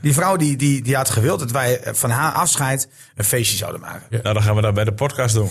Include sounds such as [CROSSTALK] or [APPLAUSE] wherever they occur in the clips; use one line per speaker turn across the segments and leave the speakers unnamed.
Die vrouw die, die, die had gewild dat wij eh, van haar afscheid een feestje zouden maken.
Nou, dan gaan we dat bij de podcast doen.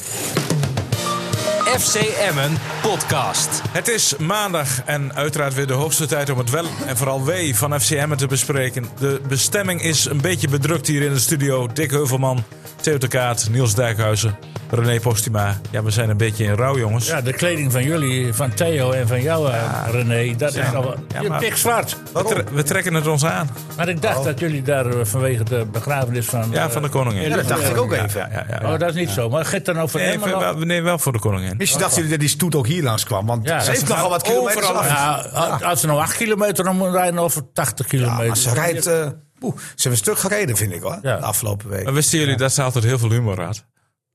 FC Emmen podcast.
Het is maandag en uiteraard weer de hoogste tijd om het wel en vooral wee van FC Emmen te bespreken. De bestemming is een beetje bedrukt hier in de studio. Dick Heuvelman, Theo de Kaat, Niels Dijkhuizen, René Postuma. Ja, we zijn een beetje in rouw, jongens.
Ja, de kleding van jullie, van Theo en van jou, eh, René, dat is al
Ja,
wel
maar-
pikzwart.
we, tre- we trekken het ons aan.
Maar ik dacht dat jullie daar eh, vanwege de begrafenis van...
Ja,
eh,
van de koningin.
Ja, dat dacht ik ook even.
Ja, ja, ja.
Oh, dat is niet zo. Maar gaat dan over
Nee,
Emmen
wel-
nog?
wel- nee, wel voor de koningin.
Misschien dachten jullie dat die stoet ook hier langs kwam. Want
Ja,
ze
dat
heeft
ze
nogal
gaat
wat kilometers
overal
af. Ah,
Ja, als- als ze nou 8 kilometer om moeten rijden of 80 kilometer.
Maar ze rijdt... eh, oeh, ze hebben een stuk gereden, vind ik hoor.
Ja.
De afgelopen week.
Maar wisten jullie dat ze altijd heel veel humor had?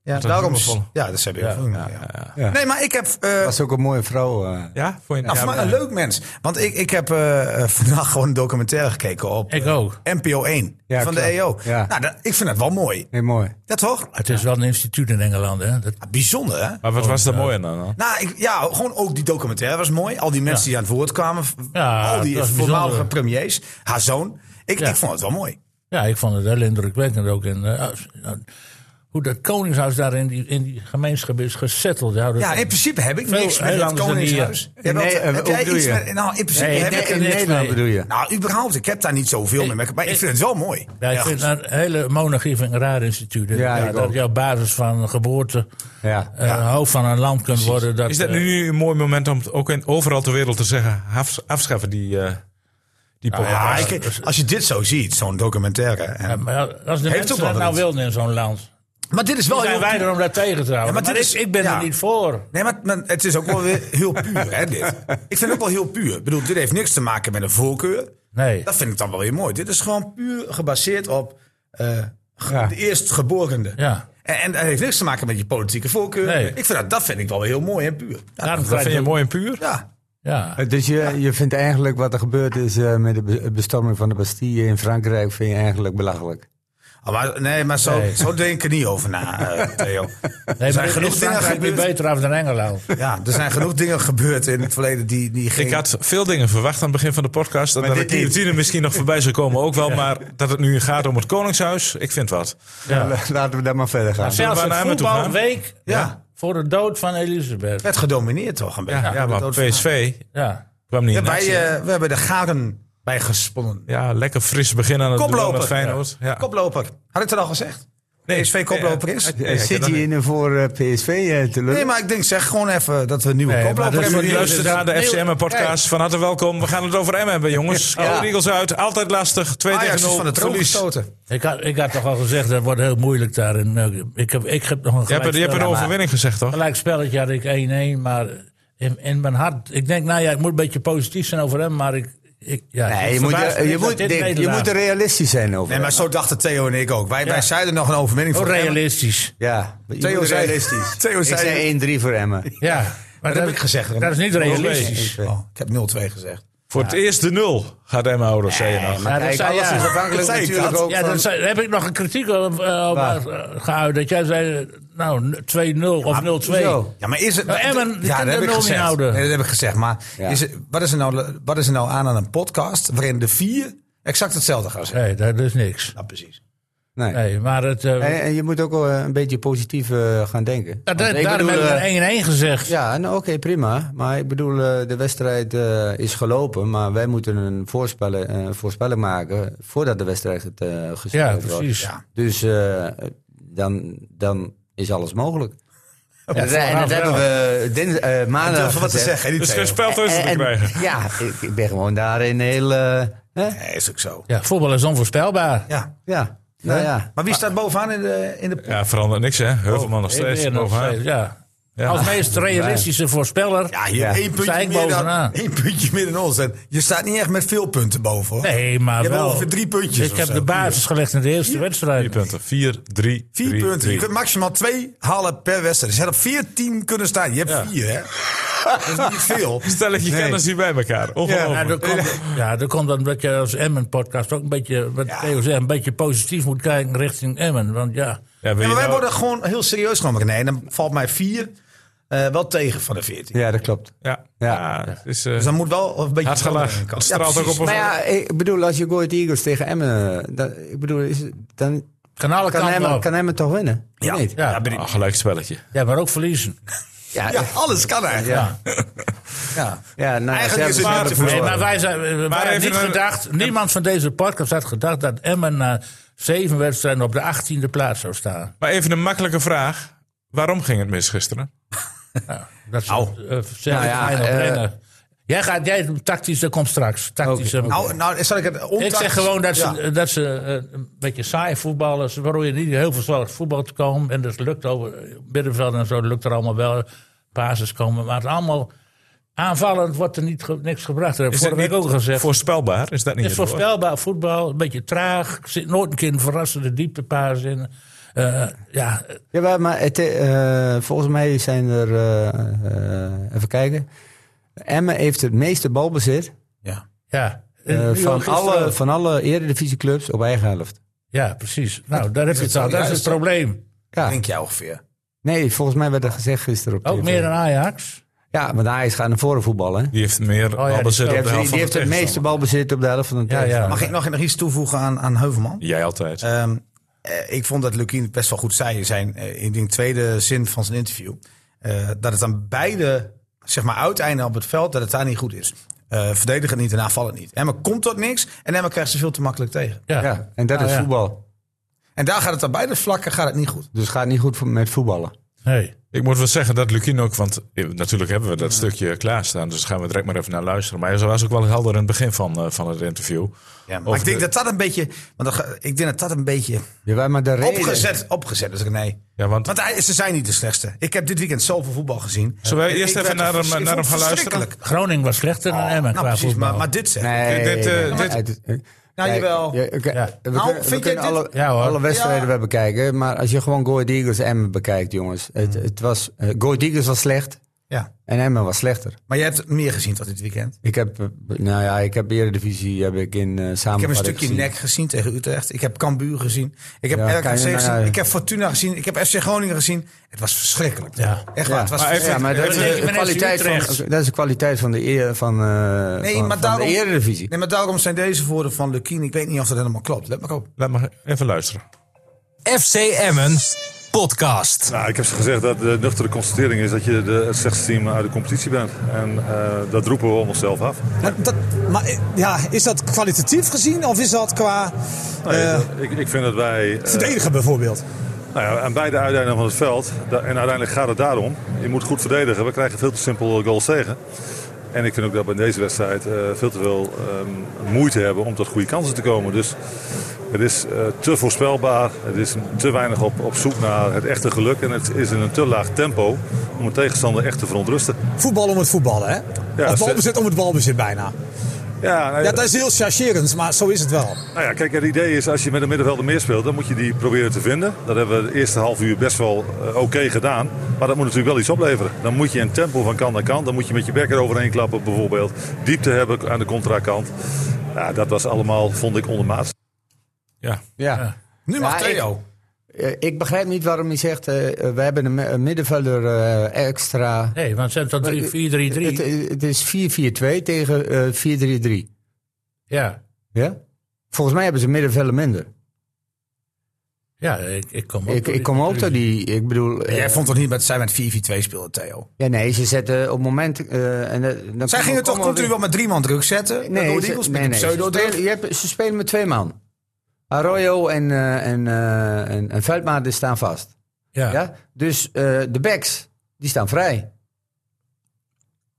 Ja,
is
daarom...
helemaal vol.
Ja, dat heb ik.
Ja.
Ja.
Ja.
Nee, maar ik heb... eh,
Dat is ook een mooie vrouw. eh.
Ja? Vond je
Nou, voor mij een leuk mens. Want ik, ik heb eh, [LAUGHS] eh, vandaag gewoon een documentaire gekeken op
Ik ook.
NPO 1
Ja,
van de
klopt.
EO.
Ja.
Nou, dat, ik vind dat wel mooi.
Heel mooi.
Dat toch?
Het is wel een instituut in Engeland, hè? Dat,
Ja, bijzonder, hè?
Maar wat was daar mooi aan dan?
Nou, ik, ja, gewoon ook die documentaire was mooi. Al die mensen die aan het woord kwamen. v-
Ja,
al die
dat was
voormalige
bijzonder.
premiers. Haar zoon. Ik,
Ja.
ik vond het wel mooi.
ja, ik vond het heel indrukwekkend ook. En, eh, als- eh, hoe dat koningshuis daar in die, in die gemeenschap is gezetteld. Ja, dat-
Ja, in principe heb ik
Veel-
niks met
heel
het
anders dan hier.
Koningshuis. Jij
Nee,
wilt-
eh,
heb
wat
jij
bedoel
iets
je?
met... Nou, in principe
Nee,
heb
nee,
ik...
In
niks
Nederland
mee.
bedoel je?
Nou, überhaupt. Ik heb daar niet zoveel mee. Maar ik
ik-
vind het wel mooi.
Ja, ik
Ja,
vind dat hele monarchie vind ik een raar instituut.
Ja, ik
dat
ook.
je op basis van geboorte
Ja.
eh, hoofd van een land kunt worden. Dat,
Is dat
eh,
nu een mooi moment om het ook in, overal ter wereld te zeggen... af- afschaffen die, eh die
Nou Ja,
podcast?
ik- als je dit zo ziet, zo'n documentaire. en-
ja, maar als de
ook
mensen
wel
dat nou
iets.
wilden in zo'n land.
Maar dit is wel
zijn
heel...
wij er om dat tegen te houden.
maar
maar
dit
ik,
is-
ik ben
ja.
er niet voor.
Nee, maar, maar het is ook wel weer heel puur, hè, dit. Ik vind het ook wel heel puur. Ik bedoel, dit heeft niks te maken met een voorkeur.
Nee.
Dat vind ik dan wel weer mooi. Dit is gewoon puur gebaseerd op eh, ge-
Ja.
de eerstgeborene.
Ja.
En, en dat heeft niks te maken met je politieke voorkeur.
Nee.
Ik vind dat, dat vind ik wel weer heel mooi en puur. Ja.
Daarom
Dat
krijg
vind je
je
mooi en puur?
ja.
Ja.
Eh, Dus je, je vindt eigenlijk wat er gebeurd is eh, met de be- bestorming van de Bastille in Frankrijk, vind je eigenlijk belachelijk.
Oh, maar, nee, maar zo,
Nee.
zo denk ik er niet over na, eh, Theo.
Nee, maar
zijn genoeg
in
dingen
Frankrijk weer
gebeurd.
beter af dan Engeland.
Ja, er zijn genoeg dingen gebeurd in het verleden die, die geen...
Ik had veel dingen verwacht aan het begin van de podcast. En dat de
dit niet.
guillotine misschien nog voorbij zou komen ook
[LAUGHS]
wel. Maar dat het nu gaat om het Koningshuis, ik vind wat.
Ja.
Nou, Laten we daar maar verder gaan.
Zullen we
Zelfs
naar
het
Emmen toe gaan?
voetbalweek
Ja.
voor de dood van Elisabeth.
werd gedomineerd toch een beetje.
Ja,
door de
maar
dood van-
PSV
Ja.
kwam niet
Ja,
in
wij,
actie.
eh, we hebben de garen bij gesponnen.
Ja, lekker fris begin aan het duel
Koploper.
met Feyenoord. Ja.
Koploper. Had ik het al gezegd? Nee, PSV koploper is.
Ja,
Eh,
ik heb
Zit
dat
je
niet.
in een voor eh, PSV eh, te lullen?
Nee, maar ik denk zeg gewoon even dat we een nieuwe
Nee, maar
koploper
dat is
hebben.
wel
Die
dus Luister
is-
naar de FCM-podcast. Van harte welkom. We gaan het over Emmen hebben, jongens. Alle regels uit. Altijd lastig. 2 tegen
Ajax is
0.
van de troon
verlies.
gestoten.
Ik had, ik had toch al gezegd, dat wordt heel moeilijk daar. En, eh, ik, heb, ik heb nog een
Je hebt, je hebt een
gelijkspel.
overwinning gezegd, toch?
Gelijk spelletje had ik 1-1, maar in, in mijn hart... Ik denk, nou ja, ik moet een beetje positief zijn over hem, maar ik... ik ja,
Nee,
ik
je, moet,
verbaas me
je,
dat
moet,
dit
Dick, je
nederlaag-
moet er realistisch zijn over.
Nee, maar zo dachten Theo en ik ook. Wij, wij zeiden nog een overwinning
Oh,
voor Emmen.
realistisch.
ja, je
Theo
moet
zei-
[LAUGHS] realistisch.
Theo
ik
zei-
zei 1-3 voor Emmen.
Ja, maar
Dat heb ik gezegd.
Dat is niet realistisch.
Realistisch.
Oh, ik heb 0-2 gezegd.
Voor het eerst de nul gaat Emma houden, zei je nog.
Ja, dat
Kijk,
zei-
alles
ja.
is afhankelijk
Zei ik
natuurlijk
dat?
ook
Ja,
van- Nou.
dan zei- heb ik nog een kritiek op, eh, op
Waar?
eh, geuit. Dat jij zei, nou, 2-0 of 0-2.
hoezo?
Ja, maar is het...
Nou, Emmen, die
ja,
kunnen
dat heb
de
ik
nul
gezegd.
niet houden.
Nee, dat heb ik gezegd. Maar
Ja.
is het- wat, is er nou, wat is er nou aan aan een podcast waarin de vier exact hetzelfde gaan zeggen?
Nee, dat is niks.
Nou, precies.
Nee.
Nee, maar het... eh,
En, en je moet ook wel eh, een beetje positief eh, gaan denken.
dat,
Want
dat- daarom
bedoel, eh,
heb ik een 1-1 gezegd.
Ja, nou, oké, prima. Maar ik bedoel, eh, de wedstrijd eh, is gelopen. Maar wij moeten een voorspellen, eh, voorspelling maken voordat de wedstrijd het, eh, gespeeld
Ja,
wordt.
precies.
Ja.
Dus eh, dan, dan is alles mogelijk. En dat- en
vooraf
dat hebben
wel.
we dins, eh,
Ik
maandag
durf wat te
gezegd.
zeggen, die
Dus
Theo.
geen spel tussen te
En- en-
krijgen.
Ja, ik, ik ben gewoon daarin heel... eh, hè?
Nee, is ook zo.
Ja, voetbal is onvoorspelbaar.
Ja.
Ja, nou ja.
Maar wie staat bovenaan in de, in de...
Ja, verandert niks, hè? Heuvelman nog
Ik
steeds
Oh, weer nog
bovenaan.
steeds, ja.
Ja. [LAUGHS]
Als meest realistische voorspeller.
Ja, hier
Ja.
één
Sta
puntje
ik
meer dan,
bovenaan.
één puntje meer dan ons. En je staat niet echt met veel punten boven, hoor.
Nee,
Je
maar
hebt
wel.
ongeveer drie puntjes
Ik
of
heb
zo.
de basis gelegd in de eerste
Vier
wedstrijd.
punten. Vier, drie,
Vier
drie,
punten. Je
drie.
kunt
[LAUGHS]
maximaal twee halen per wedstrijd. Je zou op veertien kunnen staan. Je hebt vier, hè? Dat is niet
[LAUGHS]
veel.
Stelletje
Nee.
kennis hier bij elkaar.
Ja, nou, dat
Ongelooflijk.
komt, ja, dat komt omdat je als Emmen-podcast ook een beetje, wat
Ja.
Theo zegt, een beetje positief moet kijken richting Emmen. Want ja,
Ja,
Ja,
wil je
maar wij
nou-
worden gewoon heel serieus genomen. Nee, dan valt mij vier. eh, wel tegen van de 14.
Ja, dat klopt.
Ja,
Ja.
ja. het is, eh,
Dus dan moet wel een beetje...
Hard gelach.
Ja,
Het straalt ook
precies.
op
Maar ja, ik bedoel, als je Go Ahead Eagles tegen Emmen... eh, dat- ik bedoel, is, het- dan
Kan alle
kan
kanten
Emmen,
op.
kan Emmen toch winnen? Of
Ja.
niet?
Ja.
Ja, ben ik-
ah, gelijk spelletje.
Ja, maar ook verliezen.
Ja,
ja,
ja.
alles kan eigenlijk.
ja.
Ja.
nou,
Eigenlijk
ze
is
hebben-
het
ze
maar
hebben
te
verloren.
Nee, maar wij zijn, wij
Maar
hebben
even
niet
een-
gedacht, niemand van deze podcast had gedacht dat Emmen na zeven wedstrijden op de 18e plaats zou staan.
Maar even een makkelijke vraag. Waarom ging het mis gisteren?
Dat is
Nou.
eh, zelf
Nou ja,
fijn
eh,
rennen. Jij gaat, jij tactisch, dat komt straks. Tactisch, eh,
Nou, nou, zal ik het ontact-
Ik zeg gewoon dat ze,
Ja.
dat ze eh, een beetje saai voetballen. Ze proberen niet heel verzorgd voetbal te komen. En dat lukt over eh, middenveld en zo. Dat lukt er allemaal wel. Basis komen. Maar het allemaal aanvallend wordt er niet, ge- niks gebracht. Dat heb ik
Is
vorige
het
week ook al gezegd.
Voorspelbaar? Is dat niet
Het is
het woord?
voorspelbaar voetbal. Een beetje traag. Er zit nooit een keer een verrassende dieptepaas in. Eh, ja, eh,
Jawel, maar het, eh, eh, volgens mij zijn er... eh, eh, even kijken. Emmen heeft het meeste balbezit
Ja.
ja.
eh,
En nu ook
van,
gisteren
alle,
ook.
van alle eredivisieclubs op eigen helft.
Ja, precies. Nou, daar heb je het al. Dat is het
Juist.
probleem.
Ja.
Denk jij ongeveer.
Nee, volgens mij werd dat gezegd gisteren op
Ook
TV.
meer dan Ajax.
Ja, want Ajax gaat naar voren voetballen. hè?
Die heeft meer
ja, die
balbezit
Die
op de helft
heeft, die
van de
heeft het meeste
tegenstander.
balbezit op de helft van
Ja,
de
ja.
tegenstander.
Mag ik nog, nog iets toevoegen aan, aan Heuvelman?
Jij altijd.
Ehm, eh, ik vond dat Lukien het best wel goed zei in zijn eh, in de tweede zin van zijn interview. eh, dat het aan beide zeg maar, uiteinden op het veld dat het daar niet goed is. Eh verdedigen niet en aanvallen niet. Emma komt tot niks en Emma krijgt ze veel te makkelijk tegen.
Ja.
Ja, en dat
Nou
is
ja.
voetbal.
En daar gaat het aan beide vlakken gaat het niet goed.
Dus gaat niet goed voor- met voetballen.
Nee.
Ik moet wel zeggen dat Lukien ook, want eh, natuurlijk hebben we dat stukje klaarstaan, dus gaan we direct maar even naar luisteren. Maar hij was ook wel helder in het begin van, eh, van het interview.
Ja, maar
Of
ik denk
de-
dat dat een beetje. Want dat, ga- ik denk dat dat een beetje
Jawel, maar de reden...
opgezet, opgezet is. Nee.
Ja, want
Want hij, ze zijn niet de slechtste. Ik heb dit weekend zoveel voetbal gezien.
Zullen we
En
eerst
ik
even
werd
naar hem-
vers- ik
naar hem
vond het
gaan
verschrikkelijk.
Groningen was slechter
Oh,
dan Emmen
Nou,
qua
precies,
voetbal.
maar, maar dit zegt.
Nee,
Dit- dit, eh,
nee,
dit-
nee, het- eh,
Nou,
kijk,
jawel.
je- oké,
Ja.
We,
Nou,
kunnen- we
vind
kunnen
jij dit-
alle,
Ja, hoor.
alle wedstrijden
Ja.
wel bekijken. Maar als je gewoon Go Ahead Eagles Emmen bekijkt, jongens. Het,
Mm.
het was, eh, Go Ahead Eagles was slecht
Ja.
en Emmen was slechter.
Maar jij hebt meer gezien tot dit weekend.
Ik heb, eh, nou ja, ik heb Eredivisie heb ik in eh
Ik heb een
samenvatting
stukje
gezien.
nek gezien tegen Utrecht. Ik heb Cambuur gezien. Ik heb
Ja,
RKC
kan je- nou
gezien.
ja.
Ik heb Fortuna gezien. Ik heb FC Groningen gezien. Het was verschrikkelijk.
Ja.
Echt waar.
Ja.
Het was
Maar even-
Ja,
verschrikkelijk.
maar dat is
Even-
de
Even-
kwaliteit
Utrecht.
van, dat is de kwaliteit van de, eer, van, eh
Nee,
van,
maar
van
daarom-
de Eredivisie.
Nee, maar daarom zijn deze woorden van Lukien. Ik weet niet of dat helemaal klopt. Let maar op.
laat maar even luisteren.
FC Emmen podcast.
Nou, ik heb ze gezegd dat de nuchtere constatering is dat je de, het slechtste team uit de competitie bent. En eh, dat roepen we om onszelf af.
Maar, dat, maar eh, ja, is dat kwalitatief gezien of is dat qua
Nou,
eh,
ik, ik vind dat wij eh,
verdedigen bijvoorbeeld?
nou ja, aan beide uiteinden van het veld, da- en uiteindelijk gaat het daarom, je moet goed verdedigen. We krijgen veel te simpel goals tegen. En ik vind ook dat we in deze wedstrijd eh, veel te veel ehm, moeite hebben om tot goede kansen te komen. Dus het is eh, te voorspelbaar, het is te weinig op, op zoek naar het echte geluk. En het is in een te laag tempo om een tegenstander echt te verontrusten.
Voetbal om het voetballen, hè?
dat
of
is-
balbezit om het balbezit bijna.
Ja, nou ja,
Ja, dat is heel chargerend, maar zo is het wel.
Nou ja, kijk, het idee is als je met een middenvelder meer speelt, dan moet je die proberen te vinden. Dat hebben we de eerste half uur best wel eh, oké gedaan. Maar dat moet natuurlijk wel iets opleveren. Dan moet je een tempo van kant naar kant. Dan moet je met je bek eroverheen klappen bijvoorbeeld. Diepte hebben aan de contrakant. Ja, dat was allemaal, vond ik, ondermaats.
Ja,
Ja.
Nu mag
Ja, ik-
Theo.
Eh, ik begrijp niet waarom hij zegt, eh, eh, we hebben een, mi- een middenvelder eh, extra.
Nee, want het zijn
Maar,
tot
eh,
4-3-3.
Het, het is 4-4-2 tegen eh 4-3-3.
Ja,
Ja? Volgens mij hebben ze een middenvelder minder.
ja ik, ik kom ook
Ik,
tot
ik kom ook tot
conclusie.
die, ik bedoel... eh,
Jij vond toch niet dat zij met 4-4-2 speelden, Theo?
ja, nee, ze zetten op het moment... eh, en, eh, dan
Zij
komen-
gingen toch
komen
continu wel met drie man druk zetten?
Nee,
Door de
ze-
Eagles, met
nee, nee,
die
ze,
pseudo-druk.
spelen, je hebt, ze spelen met twee man. Arroyo en, eh en, eh en, en Veldmaat staan vast.
Ja.
Ja? Dus eh, de backs, die staan vrij.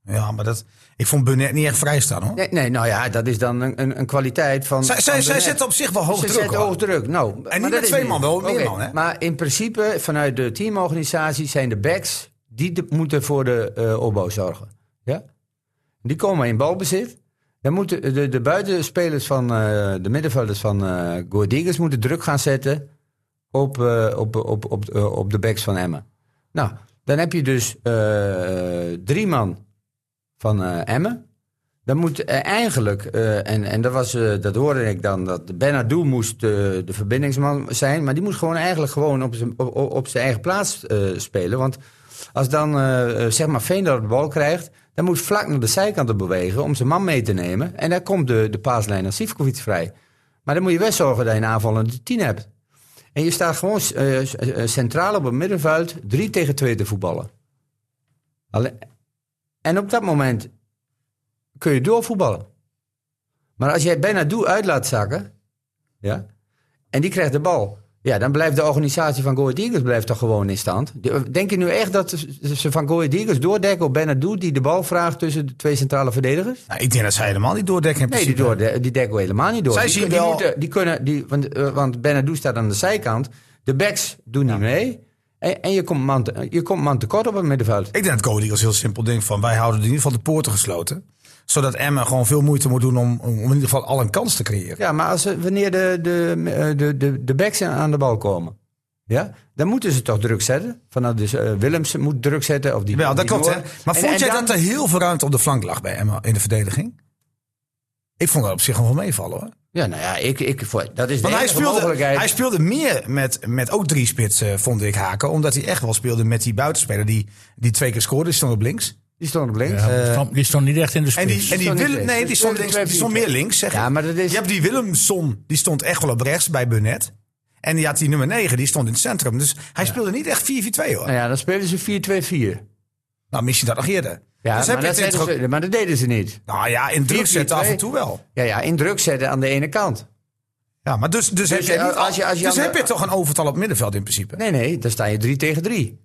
Ja, maar dat, ik vond Burnett niet echt vrij staan, hoor.
Nee, nee nou ja, dat is dan een, een, een kwaliteit van...
Zij,
van
zij,
de
zij
net.
zetten op zich wel hoog
Ze
druk,
zetten
hoor.
hoog druk. Nou, maar
niet
dat
met
is
twee man, wel meer
Oké,
man, hè?
Maar in principe, vanuit de teamorganisatie zijn de backs... die de- moeten voor de eh opbouw zorgen. Ja? Die komen in balbezit. Dan moeten de, de buitenspelers van eh, de middenvelders van eh Go Ahead Eagles moeten druk gaan zetten op, eh, op, op, op, op, eh, op de backs van Emmen. Nou, dan heb je dus eh, eh, drie man van eh, Emmen. Dan moet eh, eigenlijk, eh, en, en dat, was, eh, dat hoorde ik dan, dat Benadou moest eh, de verbindingsman zijn. Maar die moet gewoon eigenlijk gewoon op zijn, op, op zijn eigen plaats eh, spelen. Want Als dan eh, eh, zeg maar Veendorp de bal krijgt, dan moet vlak naar de zijkant te bewegen om zijn man mee te nemen. En dan komt de, de paaslijn naar Sivkovic vrij. Maar dan moet je wel zorgen dat je een aanvallende tien hebt. En je staat gewoon eh, s- eh, centraal op het middenveld, drie tegen twee te voetballen. Alle- En op dat moment kun je doorvoetballen. Maar als jij bijna doel uit laat zakken, ja, en die krijgt de bal. Ja, dan blijft de organisatie van Go Ahead Eagles blijft toch gewoon in stand. De- Denk je nu echt dat ze- ze van Go Ahead Eagles doordekken op Benadou die de bal vraagt tussen de twee centrale verdedigers?
Nou, ik denk dat zij helemaal niet doordekken in
Nee, die,
principe.
door, die dekken we helemaal niet door.
Zij
die,
zien
die
wel-
moeten, die kunnen, die, want, eh, want Benadou staat aan de zijkant. De backs doen niet mee. En, en je, komt man te, je komt man tekort op het middenveld.
Ik denk dat Go Ahead Eagles heel simpel ding van wij houden in ieder geval de poorten gesloten. Zodat Emma gewoon veel moeite moet doen om, om in ieder geval al een kans te creëren.
Ja, maar als, ze- wanneer de, de, eh, de, de, de backs aan de bal komen, ja, dan moeten ze toch druk zetten. Vanuit dus, eh, Willems moet druk zetten. Of die,
Wel, dat
die
klopt hè.
Noor.
Maar
En-
vond
en
jij
dan-
dat er heel veel ruimte op de flank lag bij Emma in de verdediging? Ik vond dat op zich gewoon wel meevallen hoor.
Ja, nou ja, ik, ik, voor- dat is de
Want hij
enige
speelde,
mogelijkheid.
hij speelde meer met, met ook drie spitsen, vond ik haken. Omdat hij echt wel speelde met die buitenspeler die, die twee keer scoorde. Die stond op links.
Die stond op links. Eh,
Ja, die stond- die stond niet echt in de
En
spits.
die, en die
stond niet
Willem,
links.
nee, die stond,
Twee-
links,
twee-
die stond meer links, zeg
Ja,
ik.
maar dat is-
Je hebt die Willemson, die stond echt wel op rechts bij Burnett. En die had die nummer 9, die stond in het centrum. Dus hij speelde niet echt 4-4-2 hoor.
Nou ja, dan spelen ze 4-2-4.
Nou, misschien dat nog eerder.
Ja,
dus heb
maar,
je
dat
het in
zeiden
het ge-
ze- maar dat deden ze niet.
Nou ja, in druk zetten af
4-4-2.
en toe wel.
Ja, ja, in druk zetten aan de ene kant.
Ja, maar dus, dus, heb,
je-
je, niet-
als je- als je
dus
aan de-
heb je toch een overtal op het middenveld in principe.
Nee, nee, dan sta je 3 tegen 3.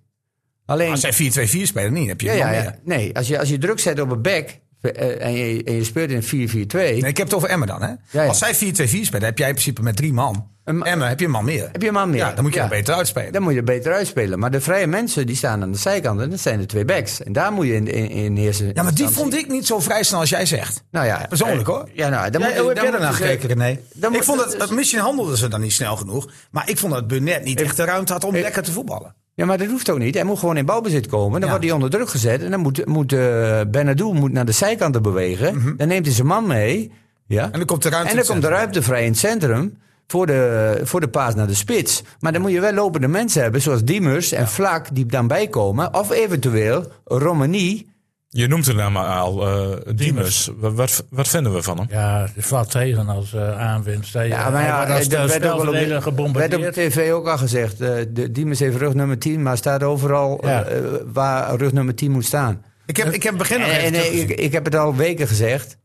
Alleen,
Als zij 4-2-4 spelen, niet. heb je
ja,
het
ja,
nog
ja,
meer.
nee, als je, als je druk zet op een back eh, en je, en je speelt in 4-4-2,
Nee, ik heb het over Emmen dan. Hè?
ja.
Als zij 4-2-4 spelen, heb jij in principe met drie man.
Een ma-
Emmen heb je een man meer.
heb je een man meer.
Ja, dan moet je er beter uitspelen.
Dan moet je er beter uitspelen. Maar de vrije mensen die staan aan de zijkant en dat zijn de twee backs. En daar moet je in, in, in eerste
Ja, maar die
instantie-
vond ik niet zo vrij snel als jij zegt.
Nou ja,
Persoonlijk, hoor.
Ja, nou, dan
Jij-
moet je-
hoe heb
dan
jij
moet
daarna
je-
gekeken, René?
dan
Ik
moet-
vond dat,
dat is-
misschien handelden ze dan niet snel genoeg. Maar dus- ik vond dat Burnett niet echt de ruimte had om lekker te voetballen.
Ja, maar dat hoeft ook niet. Hij moet gewoon in balbezit komen. Dan wordt hij onder druk gezet. En dan moet, moet eh Benadou moet naar de zijkanten bewegen. Dan neemt hij zijn man mee. Ja.
Mhm. En dan komt de ruimte
En
in
dan
het
komt
centrum.
de ruimte vrij in het centrum. Voor de, voor de paas naar de spits. Maar dan moet je wel lopende mensen hebben. Zoals Diemers en Vlak die dan bijkomen. Of eventueel Romani.
Je noemt de naam al, eh Diemers. Wat, wat, wat vinden we van hem?
Ja, het valt tegen als eh aanwinst. Hij-
Ja, maar
hij
ja,
wordt als
dat werd ook wel op de-
spelverdeler
werd
gebombardeerd.
op tv ook al gezegd. eh, de, Diemers heeft rug nummer 10. Maar staat overal
Ja.
eh, waar rug nummer 10 moet staan.
Ik heb, ik heb begin nog
En,
even
en eh,
teruggezien.
ik, ik heb het al weken gezegd.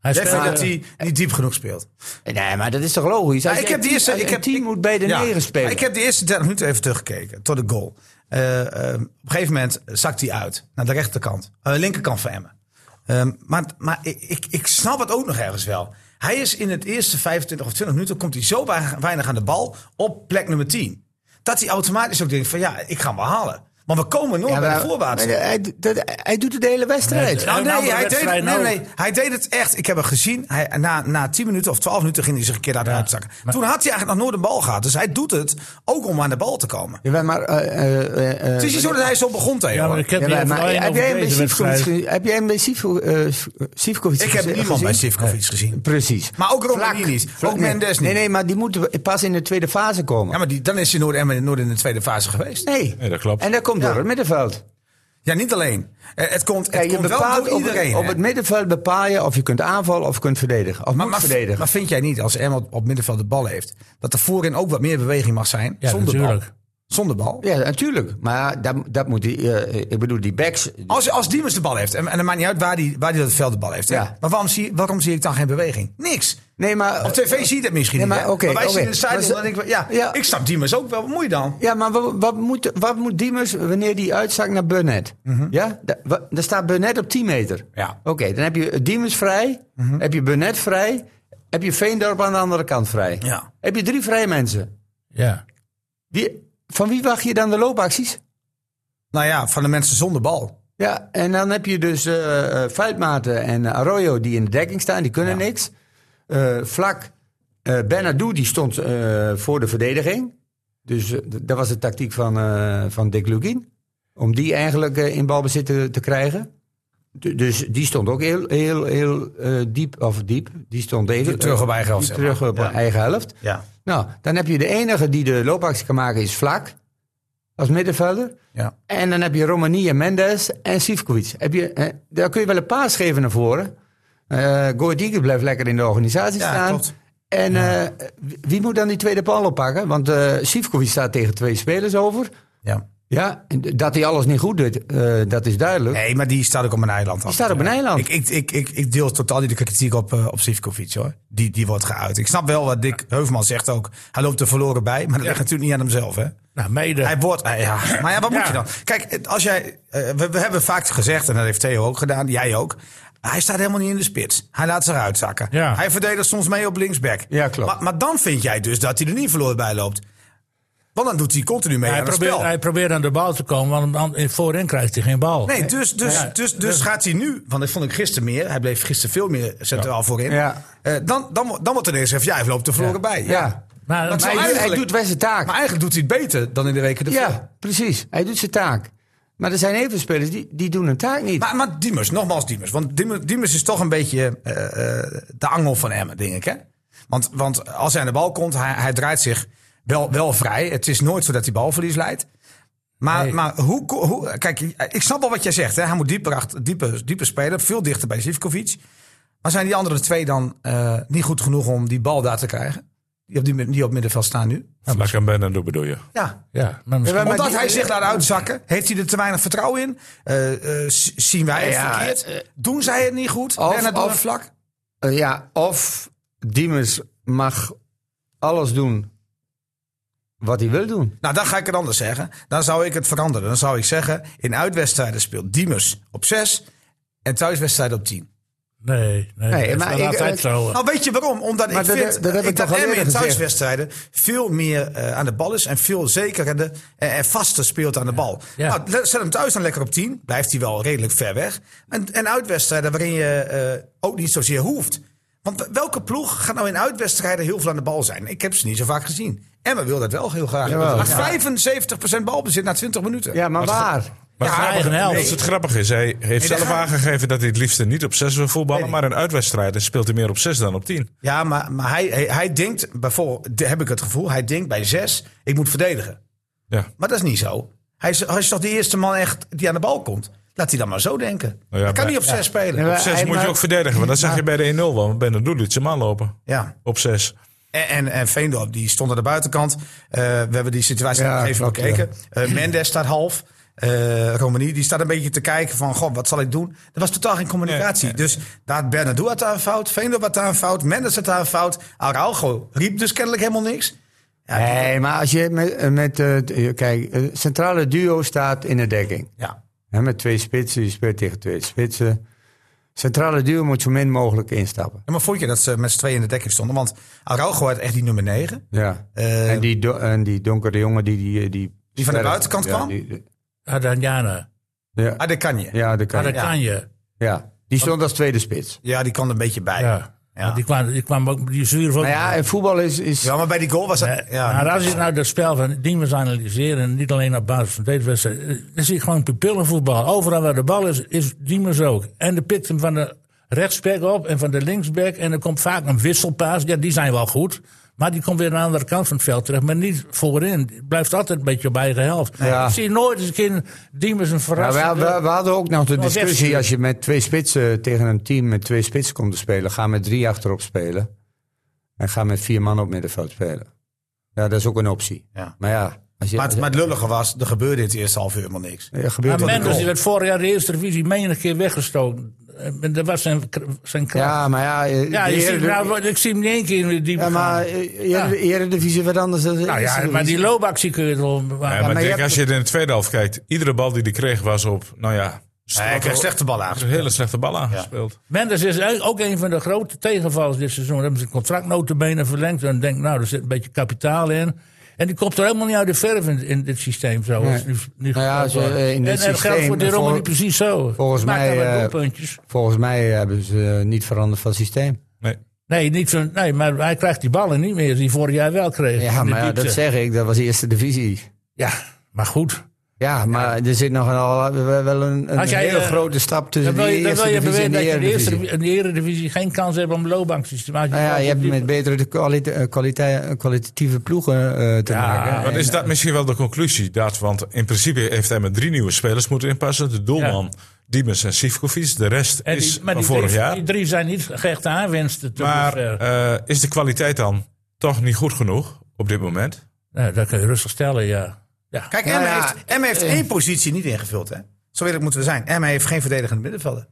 Hij
Jij vindt
speelde-
dat hij niet diep genoeg speelt.
Nee, maar dat is toch logisch? Als
Maar ik
je
heb die
een
eerste-
team-
ik
een
heb-
team
ik-
moet bij de
Ja,
negen spelen.
maar Ik heb de eerste 30 minuten even teruggekeken tot de goal. Eh, eh, op een gegeven moment zakt hij uit naar de rechterkant, eh, linkerkant van Emmen. Ehm, maar maar ik, ik, ik snap het ook nog ergens wel. Hij is in het eerste 25 of 20 minuten komt hij zo wa- weinig aan de bal op plek nummer 10. Dat hij automatisch ook denkt van ja, ik ga hem wel halen. Maar we komen nooit
Ja,
bij
maar-
de voorwaarts.
maar hij, dat- hij doet het de hele wedstrijd. Oh,
Nee,
Nou,
Nou,
nee,
de
hij deed,
wedstrijd
het, nee,
nou.
nee, hij deed het echt. Ik heb hem gezien. Hij, na, na 10 minuten of 12 minuten ging hij zich een keer daaruit zakken. Toen had hij eigenlijk nog nooit een bal gehad. Dus hij doet het ook om aan de bal te komen.
Jawel, maar, eh, eh, eh, eh,
Het is niet zo dat hij zo begon tegen.
Ja, maar
hoor.
ik heb
jawel,
niet even
maar
alleen
heb
over
jij
deze
bij Sivkovic
wedstrijd.
gezien? Heb jij hem bij Sivko- eh, S- Sivkovic
ik heb
geze-
niemand
gezien?
bij Sivkovic gezien.
Precies.
Maar ook Romani
Vlak.
niet.
Vlak-
Ook
nee.
Mendes niet.
Nee, nee, maar die moeten pas in de tweede fase komen.
Ja, maar die, dan is hij nooit, Emmen- nooit in de tweede fase geweest.
nee.
Nee, dat klopt.
En dat komt door het middenveld.
Ja, niet alleen. Eh, Het komt, het
Kijk, je
komt wel
bepaalt
door
op,
iedereen.
op
hè.
het middenveld bepaal je of je kunt aanvallen of kunt verdedigen. Of
maar,
moet
maar,
verdedigen.
maar vind jij niet, als Emma op, op middenveld de bal heeft, dat er voorin ook wat meer beweging mag zijn?
Ja,
zonder
natuurlijk.
bal. Zonder bal.
ja, natuurlijk. Maar dat, dat moet die, eh, ik bedoel, die backs,
Als, als Diemers de bal heeft, en, en het maakt niet uit waar hij waar die dat veld de bal heeft. hè.
Ja.
Maar waarom zie, waarom zie ik dan geen beweging? Niks.
Nee, maar,
Op tv zie je dat misschien
Nee,
niet.
maar
hè.
oké,
wij
oké.
zien in de
Maar
site
ze-
en dan denk ik, ja,
Ja.
ik snap Diemers ook wel. Wat moet je dan?
Ja, maar wat, wat, moet, wat moet Diemers wanneer die uitzakt naar Burnett? Ja, da- wa- daar staat Burnett op 10 meter.
Mhm. Ja. Mhm.
Oké, dan heb je Diemers vrij, heb je Burnett vrij, heb je Veendorp aan de andere kant vrij.
Ja.
Heb je drie vrije mensen.
Ja.
Wie, van wie wacht je dan de loopacties?
Nou ja, van de mensen zonder bal.
Ja, en dan heb je dus eh eh, Vuitmaten en Arroyo die in de dekking staan, die kunnen niks. Eh, Vlak, eh Bernardo die stond eh, voor de verdediging. Dus eh, d- dat was de tactiek van, eh, van Dick Lugin. Om die eigenlijk eh, in balbezit te, te krijgen. D- dus die stond ook heel, heel, heel eh, diep, of diep, die stond even, eh,
Terug op eigen helft,
die
zeg maar.
terug op eigen helft.
Ja.
Nou, dan heb je de enige die de loopactie kan maken is Vlak. als middenvelder.
Ja.
En dan heb je Romani en Mendes en Sivkovic. Heb je, eh, daar kun je wel een paas geven naar voren. Eh Goedike blijft lekker in de organisatie
Ja,
staan.
klopt.
En eh, wie- wie moet dan die tweede bal oppakken? Want eh Sivkovic staat tegen twee spelers over.
Ja.
Ja, en d- dat hij alles niet goed doet, eh, dat is duidelijk.
Nee, maar die staat ook op een eiland. af.
staat op een eiland.
Ik, ik, ik, ik, ik deel totaal niet de kritiek op, eh, op Sivkovic hoor. Die, die wordt geuit. Ik snap wel wat Dick Heuvelman zegt ook. Hij loopt er verloren bij, maar dat ligt natuurlijk niet aan hemzelf hè.
Nou, mede.
Hij wordt, eh, ja. Maar ja, wat moet je dan? Kijk, als jij, eh, we, we hebben vaak gezegd, en dat heeft Theo ook gedaan, jij ook. Hij staat helemaal niet in de spits. Hij laat zich uitzakken.
Ja.
Hij verdedigt soms mee op linksback.
Ja, klopt.
Maar, maar dan vind jij dus dat hij er niet verloren bij loopt. Want dan doet hij continu mee
hij,
aan het
probeert,
spel.
hij probeert aan de bal te komen, want aan- aan- voorin krijgt hij geen bal.
Nee, dus, dus, dus, dus gaat hij nu, want dat vond ik gisteren meer. Hij bleef gisteren veel meer centraal voorin.
Ja.
Eh, dan, dan, dan wordt ineens gezegd, ja, hij loopt er verloren bij.
ja.
Maar-
Dat zou
Maar hij, doet- hij
eigenlijk-
doet wel zijn taak.
Maar eigenlijk doet hij het beter dan in de weken ervoor.
Ja, precies. Hij doet zijn taak. Maar er zijn even spelers die, die doen hun taak niet.
Maar, maar Diemers, nogmaals Diemers. Want Diemers, Diemers is toch een beetje eh, eh, de angel van Emmen, denk ik. Hè? Want, want als hij aan de bal komt, hij, hij draait zich wel, wel vrij. Het is nooit zo dat hij balverlies leidt. Maar, maar hoe, ko- hoe... Kijk, ik snap wel wat jij zegt. Hè? Hij moet dieper, achter, dieper, dieper spelen. Veel dichter bij Zivkovic. Maar zijn die andere twee dan eh, niet goed genoeg om die bal daar te krijgen? Die op, die, mid- die op middenveld staan nu?
Vlak en Ben en Doe bedoel je.
Ja,
Ja, maar misschien-
maar
omdat
die-
hij zich laat uitzakken, heeft hij er te weinig vertrouwen in? Eh, eh, z- zien wij het
Ja, eh,
verkeerd? Doen zij het niet goed?
of-
Lennart
of-
Doorn vlak?
Eh, ja, of Diemers mag alles doen wat hij wil doen.
Nou, dan ga ik het anders zeggen. Dan zou ik het veranderen. Dan zou ik zeggen, in uitwedstrijden speelt Diemers op 6 en thuiswedstrijden op 10.
nee, nee,
Nee,
dat
maar
is
ik- eh,
wel altijd
ik-
zo.
Nou, weet je waarom? Omdat
Maar
ik
dat-
vind
dat heb ik
ik
toch
dat
al
Emmen
eerder
in
gezegd.
thuiswedstrijden veel meer eh, aan de bal is. En veel zekerder en, en vaster speelt aan de bal.
Ja.
Nou, le- zet hem thuis dan lekker op 10. Blijft hij wel redelijk ver weg. En, en uitwedstrijden waarin je eh, ook niet zozeer hoeft. Want welke ploeg gaat nou in uitwedstrijden heel veel aan de bal zijn? Ik heb ze niet zo vaak gezien. Emmen wil dat wel heel graag.
Jawel.
Als 75% balbezit na 20 minuten.
Ja, maar waar?
Maar
Ja,
grappig-
eigen helft.
dat is het grappig is. Hij heeft
daar
zelf
gaat-
aangegeven dat hij het liefst niet op 6 wil voetballen.
Nee, nee.
Maar in uitwedstrijden speelt hij meer op 6 dan op 10.
Ja, maar, maar hij, hij, hij denkt, bijvoorbeeld, de- heb ik het gevoel, hij denkt bij zes, ik moet verdedigen.
Ja.
Maar dat is niet zo. Hij is, hij is toch de eerste man echt die aan de bal komt? Laat hij dan maar zo denken.
Nou ja,
hij kan
maar-
niet op zes spelen.
Ja,
Ja.
maar-
Op 6
hij
moet je
maakt-
ook verdedigen. Want dat zag je bij de 1-0 wel. want Ben de Doeliet zijn man lopen. Op 6.
En, en, en Veendorp, die stond aan de buitenkant. Eh, we hebben die situatie
Ja,
nog even
klopt,
bekeken. Eh, Mendes staat half. Eh Romani, die staat een beetje te kijken van, god, wat zal ik doen? Er was totaal geen communicatie. Dus daar had Bernardo had daar een fout. Veendorp had daar een fout. Mendes had daar een fout. Araujo riep dus kennelijk helemaal niks.
Nee, maar als je met, met eh, t- eh, kijk, eh, centrale duo staat in de dekking.
Ja.
Hè, met twee spitsen, je speelt tegen twee spitsen. Centrale duo moet zo min mogelijk instappen.
Ja, maar vond je dat ze met z'n tweeën in de dekking stonden? Want Araujo had echt die nummer 9.
Ja.
Eh,
en, die do- en die donkere jongen die... Die, die,
Die van de buitenkant
ja,
kwam?
die-
Adanjana,
ja,
Ah, dat kan je.
ja, dat kan.
dat kan je.
Ja, die stond als tweede spits.
Ja, die kan er een beetje bij. Ja,
Ja. Want Die, kwam, die kwam ook, die zuur van.
Maar ja, en voetbal is... is
maar bij die goal was dat...
Ja,
Ja,
maar als je nou dat spel van Diemers analyseren, en niet alleen op basis van deze wedstrijd, eh, dan zie je gewoon pupillenvoetbal. Overal waar de bal is, is Diemers ook. En de pikt hem van de rechtsback op en van de linksback. En er komt vaak een wisselpaas. Ja, die zijn wel goed. Maar die komt weer aan de andere kant van het veld terecht. Maar niet voorin. Die Blijft altijd een beetje op eigen helft.
Ja.
Ik zie nooit eens een keer Diemers een
Ja,
verrassing.
we, we- we hadden ook nog de
Nou,
discussie,
wegsturen.
als je met twee spitsen tegen een team met twee spitsen komt te spelen, ga met drie achterop spelen. En ga met vier man op middenveld spelen. Ja, dat is ook een optie.
Ja.
Maar ja, als je,
Maar, het, maar het lullige was, er gebeurde in het eerste half uur helemaal niks.
ja, gebeurt
Maar
dat
Mendes
ook.
die werd vorig jaar de eerste divisie menig keer weggestoken. Eh, En dat was zijn, kr- zijn kracht.
Ja, maar ja, eh,
Ja,
de
je ziet,
Erediv-
nou, ik zie hem niet één keer in de diepe
ja, maar
gaan.
eh, Erediv- Eredivisie wat anders dan de
Nou ja,
Eredivisie.
maar die loopactie kun je toch... Maar,
Ja, maar
maar
ik
je
denk,
hebt-
als je het in de tweede helft kijkt. Iedere bal die hij kreeg was op. Nou ja.
Hij kreeg slechte bal aan.
Een hele slechte bal aangespeeld.
Mendes is eigenlijk ook een van de grote tegenvallers dit seizoen. Daar hebben ze een contract notabene verlengd. En denk nou, er zit een beetje kapitaal in. En die komt er helemaal niet uit de verf in, in dit systeem. Zo,
Nee.
als nu, nu
Nou ja, als je,
gespeeld wordt.
eh, in dit
en dat geldt
systeem,
voor de
eh,
Rommel
vol-
niet precies zo.
volgens
Maakt
mij,
dan wel
eh,
doelpuntjes.
Volgens mij hebben ze eh, niet veranderd van systeem.
Nee.
Nee, niet van, nee, maar hij krijgt die ballen niet meer die vorig jaar wel kreeg.
Ja,
in de
maar ja, dat
diepte.
zeg ik, dat was de Eerste Divisie.
Ja, maar goed.
Ja, maar er zit nog een, wel een, een
Als jij,
hele
eh,
grote stap
Dan
tussen
wil je,
de
dan wil
eerste
je
divisie
verweten
en
dat
de
je in de eerste
eredivisie.
in de Eredivisie geen kans hebt om loonbanksysteem uit
Nou ja, je hebt met betere kwalite- eh, kwalite- kwalitatieve ploegen eh, te
Ja,
maken.
Dan
En-
is dat misschien wel de conclusie. Dat, want in principe heeft hij met drie nieuwe spelers moeten inpassen. De doelman, Diemers en Sivkovic. De rest
En Eh, die-
is
maar
van
die
vorig
drie,
jaar.
die drie zijn niet gehechte aanwinsten. tot
Maar
dusver.
eh, is de kwaliteit dan toch niet goed genoeg op dit moment?
nou, dat kun je rustig stellen, ja. ja.
Kijk,
Nou
Emme
ja,
heeft, Emme heeft één positie niet ingevuld. Hè? Zo eerlijk moeten we zijn. Emme heeft geen verdedigende middenvelder.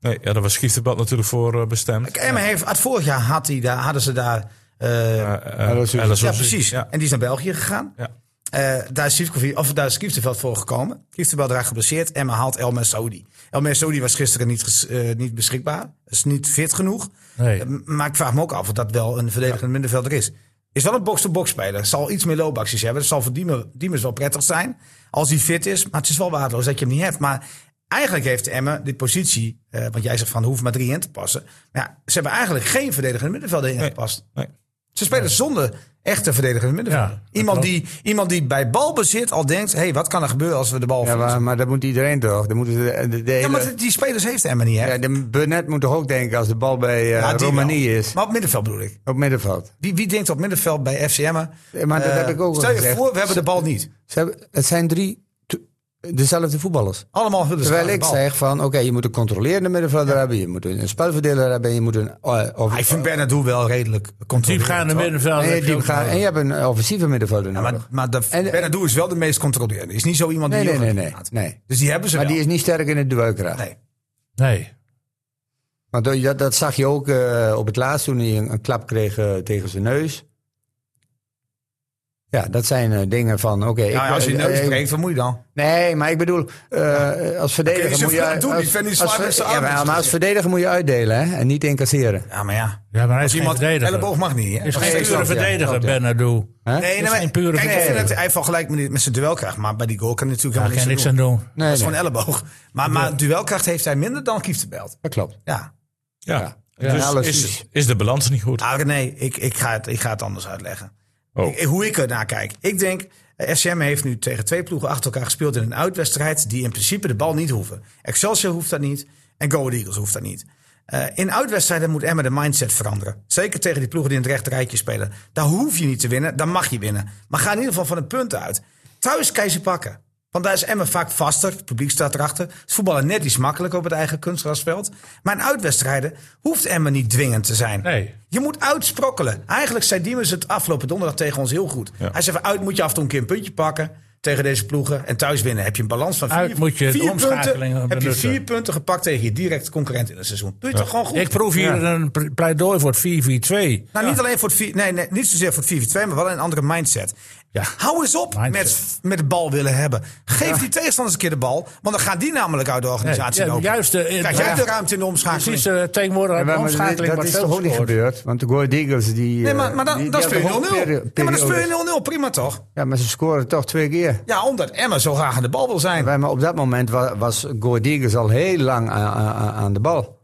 Nee, ja, daar was Schieftebad natuurlijk voor eh, bestemd.
Kijk, Emme heeft, had vorig jaar had hij daar, hadden ze daar... eh,
Eh, eh,
Ja, dat is-
Ellen
ja,
Sosie.
precies.
Ja.
En die is naar België gegaan.
Ja.
Eh, daar is Sivkovic, of daar is Kieftenveld voor gekomen. Kieftenveld raakt geblesseerd. Emma haalt Elmer Saudi. Elmer Saudi was gisteren niet, ges- eh, niet beschikbaar. Is niet fit genoeg.
Nee.
Eh, m- Maar ik vraag me ook af of dat wel een verdedigend middenvelder is. Is wel een box-to-box speler. Zal iets meer loopacties hebben. Dat zal voor Diemer- Diemers wel prettig zijn. Als hij fit is. Maar het is wel waardeloos dat je hem niet hebt. Maar eigenlijk heeft Emma die positie. eh, want jij zegt van er hoeft maar drie in te passen. Maar ja, ze hebben eigenlijk geen verdedigende middenvelder ingepast.
Nee.
Ze spelen zonder echte verdedigende middenvelder.
Ja, dat
iemand,
klopt.
die, iemand die bij balbezit al denkt: hé, hey, wat kan er gebeuren als we de bal
Ja,
verliezen?
maar, maar dat moet iedereen toch? Dan moeten ze de, de, de
Ja,
hele-
maar die spelers heeft Emma niet, hè?
ja, de Burnett moet toch ook denken als de bal bij eh,
Ja, die
Romanië
wel.
is.
Maar op middenveld bedoel ik.
Op middenveld.
Wie, wie denkt op middenveld bij FCM'en?
Ja, maar dat
eh,
heb ik ook al
Stel je
gezegd.
voor, we hebben de bal niet.
Ze hebben, het zijn drie to- dezelfde voetballers.
Allemaal willen ze
Terwijl
graag
ik
de bal.
zeg van, oké, je moet een controlerende middenvelder hebben, je moet een spelverdeler hebben, je moet een... eh, of,
Ah, ik vind Bernardo wel redelijk controlerend.
Diepgaande
hoor.
middenvelden.
nee,
heb je
diep
ook
gaan,
nodig.
en je hebt een offensieve middenvelder
Ja,
nodig.
maar maar dat-
En-
Bernardo is wel de meest controlerende. Is niet zo iemand die
nee, nee,
heel
nee,
goed
nee,
gaat.
nee.
Dus die hebben ze
Maar
wel.
die is niet sterk in het duelkracht.
Nee.
Nee.
Want dat- dat, dat zag je ook eh, op het laatst toen hij een, een klap kreeg eh, tegen zijn neus. Ja, dat zijn eh, dingen van, oké...
Ja,
ik-
als je neus
eh,
breekt, wat moet je dan?
Nee, maar ik bedoel, eh, als verdediger
Oké, ze
moet je...
doen
als-
niet, Fanny
als
Zwaar
ver-
met zijn
ja,
armen.
maar, maar als verdediger moet je uitdelen hè, en niet incasseren.
Ja, maar ja.
Ja, maar hij is
Als
geen
iemand...
verdediger.
Elleboog mag niet, hè?
Hij is
Of
geen
steeds
pure
dat, ja.
verdediger,
klopt, ja.
Bernardo.
Hè?
Nee,
Dat
nee,
is geen pure
maar, kijk, ik vind
verdediger.
het, hij valt gelijk met, met zijn duelkracht. Maar bij die goal kan hij natuurlijk
Daar kan je
helemaal
niks
niks
aan doen.
Nee,
Dat is
nee,
gewoon elleboog. Maar, maar duelkracht heeft hij minder dan Kieftenbelt.
dat klopt.
Ja.
Ja.
Ja, alles
Dus is,
is.
is de balans niet goed?
Ah, nee, ik, ik, ga het, ik ga het anders uitleggen.
Oh.
Ik- hoe ik ernaar kijk. Ik denk, eh, SCM heeft nu tegen twee ploegen achter elkaar gespeeld in een uitwedstrijd die in principe de bal niet hoeven. Excelsior hoeft dat niet en Go Ahead Eagles hoeft dat niet. Eh, in uitwedstrijden moet Emmen de mindset veranderen. Zeker tegen die ploegen die in het rechte rijtje spelen. Daar hoef je niet te winnen, daar mag je winnen. Maar ga in ieder geval van een punt uit. Thuis kan je ze pakken. Want daar is Emmen vaak vaster. Het publiek staat erachter. Ze voetballen net iets makkelijker op het eigen kunstgrasveld. Maar in uitwedstrijden hoeft Emmen niet dwingend te zijn.
Nee.
Je moet uitsprokkelen. Eigenlijk zei Diemers het afgelopen donderdag tegen ons heel goed. Hij zei van uit moet je af en toe een keer een puntje pakken tegen deze ploegen. En thuis winnen heb je een balans van vier,
Uit moet je de
vier
omschakelingen
punten. Heb je
benutten.
vier punten gepakt tegen je directe concurrent in het seizoen. Doe je toch gewoon goed?
Ik proef hier een pre- pleidooi voor het 4-4-2.
nou, niet alleen voor het vier, nee, nee, niet zozeer voor het 4-2, maar wel een andere mindset.
Ja.
Hou eens op
Mindset.
met, met de bal willen hebben. Geef die tegenstanders een keer de bal, want dan gaan die namelijk uit de organisatie
Nee, ja,
lopen.
juist, eh,
Krijg
ja.
jij de ruimte in de omschakeling?
Precies, eh, tegenwoordig
Ja,
uit de
maar dit-
omschakeling
dat
wordt
is
veel
toch ook niet
gescoord.
gebeurd? Want de Goa Eagles die...
Nee,
eh,
maar, maar dan,
die-
dan
die
speel
hebben ook
je 0-0.
peri-
Ja, maar dan speel
periodes.
je 0-0, prima toch?
Ja, maar ze scoren toch twee keer.
Ja, omdat Emma zo graag aan de bal wil zijn.
Ja, maar op dat moment wa- was Goa Eagles al heel lang aan, aan, aan de bal.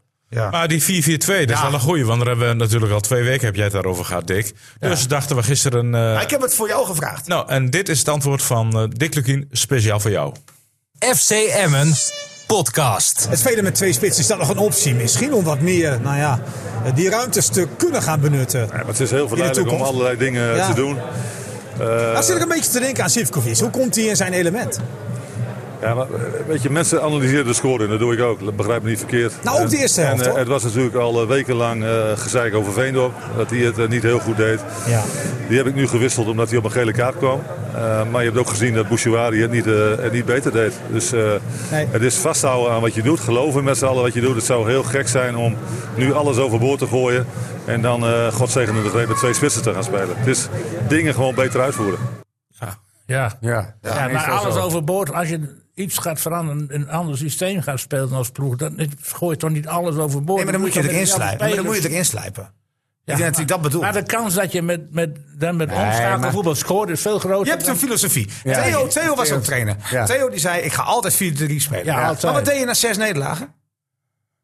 Maar die 4-4-2, dat is wel een goeie. Want daar hebben we natuurlijk al twee weken, heb jij het daarover gehad, Dick. Dus dachten we gisteren... eh,
Maar ik heb het voor jou gevraagd.
Nou, en dit is het antwoord van eh, Dick Lukien, speciaal voor jou.
FC Emmen podcast.
Het spelen met twee spitsen is dat nog een optie misschien om wat meer, nou ja, die ruimtes te kunnen gaan benutten.
Maar het is heel verleidelijk om
toekomst.
allerlei dingen
Ja.
te doen.
Dan zit ik een beetje te denken aan Sivkovic. Hoe komt hij in zijn element?
Ja, maar eh, weet je, mensen analyseren de score en dat doe ik ook. Begrijp me niet verkeerd.
Nou, ook de
En-
eerste helft,
En, eh,
hoor.
het was natuurlijk al eh, wekenlang eh gezeik over Veendorp. Dat hij het eh, niet heel goed deed.
Ja.
Die heb ik nu gewisseld omdat hij op een gele kaart kwam. Eh, maar je hebt ook gezien dat Bouchouari het niet, eh, het niet beter deed. Dus eh,
Nee.
het is vasthouden aan wat je doet. Geloven met z'n allen wat je doet. Het zou heel gek zijn om nu alles overboord te gooien. En dan, eh godzegende de greep, met twee spitsen te gaan spelen. Het is dingen gewoon beter uitvoeren.
Ja.
Ja,
Ja, maar alles overboord. Als je iets gaat veranderen, een ander systeem gaat spelen als ploeg, dan gooi je toch niet alles overboord.
Nee, maar dan moet je
toch
erin
met die
slijpen. Maar dan moet
spelers-
je erin slijpen.
Ja,
Ik denk dat hij dat bedoelt.
Maar de kans dat je met, met, dan met omschakelvoetbal scoort is veel groter.
Je hebt een
dan-
filosofie. Theo, Theo was ook trainer.
Ja.
Theo die zei, ik ga altijd 4-3 spelen.
Ja,
Maar
altijd.
wat deed je na zes nederlagen?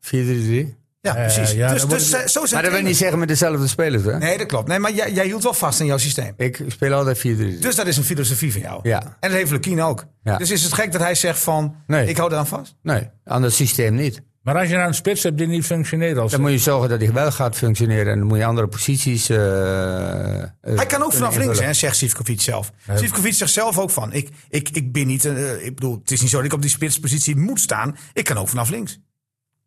4-3-3.
Ja,
Eh,
precies.
ja,
dus
dan
dus
wordt
eh, zo
Maar
zijn
dat wil ik niet zeggen met dezelfde spelers, hè?
Nee, dat klopt. Nee, maar jij, jij hield wel vast aan jouw systeem.
Ik speel altijd 4-3.
Dus dat is een filosofie van jou.
Ja.
En dat heeft Lukien ook.
Ja.
Dus is het gek dat hij zegt van,
Nee.
ik hou eraan vast?
Nee, aan dat systeem niet.
Maar als je nou een spits hebt die niet functioneert als...
Dan moet je zorgen dat hij wel gaat functioneren. En dan moet je andere posities... eh, eh,
Hij kan ook
kunnen
vanaf links,
invullen.
hè, zegt Sivkovic zelf. Sivkovic zegt zelf ook van, ik, ik, ik ben niet... eh, ik bedoel, het is niet zo dat ik op die spitspositie moet staan. Ik kan ook vanaf links.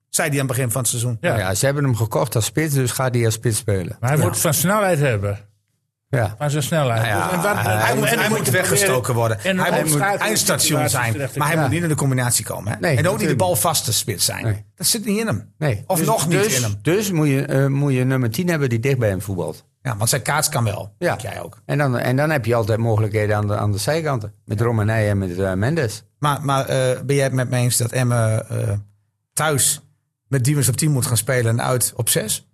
Zei hij aan het begin van het seizoen.
Ja. ze hebben hem gekocht als spits, dus gaat hij als spits spelen.
Maar hij moet van snelheid hebben.
Ja.
Van zijn snelheid.
ja,
Dus- en wat-
Nou eh, Ah, Hij,
en-
moet,
en-
hij moet weggestoken worden.
en-
hij
en-
moet
en-
eindstation zijn. Maar hij
Ja.
moet niet in de combinatie komen. Hè? en
Nee,
ook niet de
natuurlijk
bal vaste spits zijn.
Nee.
Dat zit niet in hem.
Nee.
Of
Dus-
nog niet
dus,
in hem.
Dus moet je, eh, moet je nummer 10 hebben die dicht bij hem voetbalt.
Ja, want zijn kaats kan wel.
Ja.
Denk jij ook.
En dan, en dan heb je altijd mogelijkheden aan de, aan de zijkanten. Met Romanei en met eh, Mendes.
Maar, maar eh, ben jij het met me eens dat Emme eh, thuis met Diemers op 10 moet gaan spelen en uit op 6?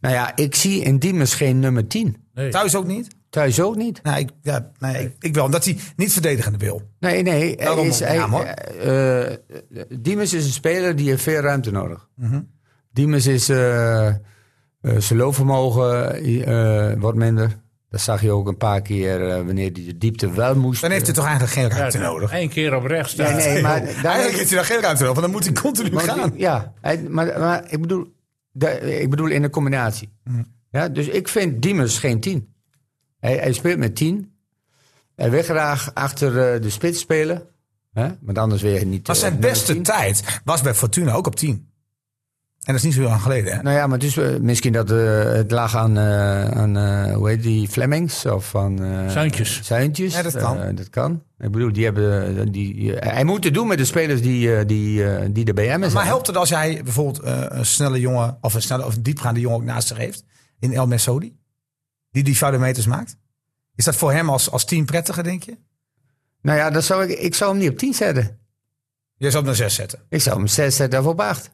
Nou ja, ik zie in Diemers geen nummer 10.
Nee.
Thuis ook niet?
Thuis ook niet.
Nou, ik, ja, nee, ik, ik wel. Omdat hij niet verdedigende wil.
Nee, nee. Hij
Daarom
is, hij,
ja, man.
eh, eh, Diemers is een speler die heeft veel ruimte nodig.
Mhm.
Diemers is... eh, eh, zijn loopvermogen eh, wat minder. Dat zag je ook een paar keer eh, wanneer hij de diepte wel moest. eh.
Dan heeft hij toch eigenlijk geen ruimte
Ja,
nodig?
Eén keer op rechts staan.
Nee, nee, maar daar-
Eigenlijk heeft hij daar geen ruimte nodig, want dan moet hij continu
Maar
gaan.
die- Ja, hij- maar, maar ik, bedoel, da- ik bedoel in de combinatie.
Mhm.
Ja, dus ik vind Diemers geen 10. Hij, hij speelt met 10. Hij wil graag achter eh, de spits spelen. Hè? Want anders weer niet.
Maar
eh,
zijn
nummer
beste
10.
tijd was bij Fortuna ook op 10. En dat is niet zo heel lang geleden. Hè?
Nou ja, maar het is eh, misschien dat eh, het lag aan, eh, aan eh, hoe heet die, Flemings of aan eh,
Zuintjes.
Zuintjes.
Ja, dat kan.
Eh, dat kan. Ik bedoel, die hebben, eh, die, eh, hij moet het doen met de spelers die, eh, die, eh, die er bij hem zijn.
Maar helpt het als jij bijvoorbeeld eh, een snelle jongen of een snelle of een diepgaande jongen ook naast zich heeft in El Mesodi? Die die vuile meters maakt? Is dat voor hem als, als team prettiger, denk je?
Nou ja, dat zou ik, ik zou hem niet op 10 zetten.
Jij zou hem naar zes zetten.
Ik zou hem 6 zetten of op 8.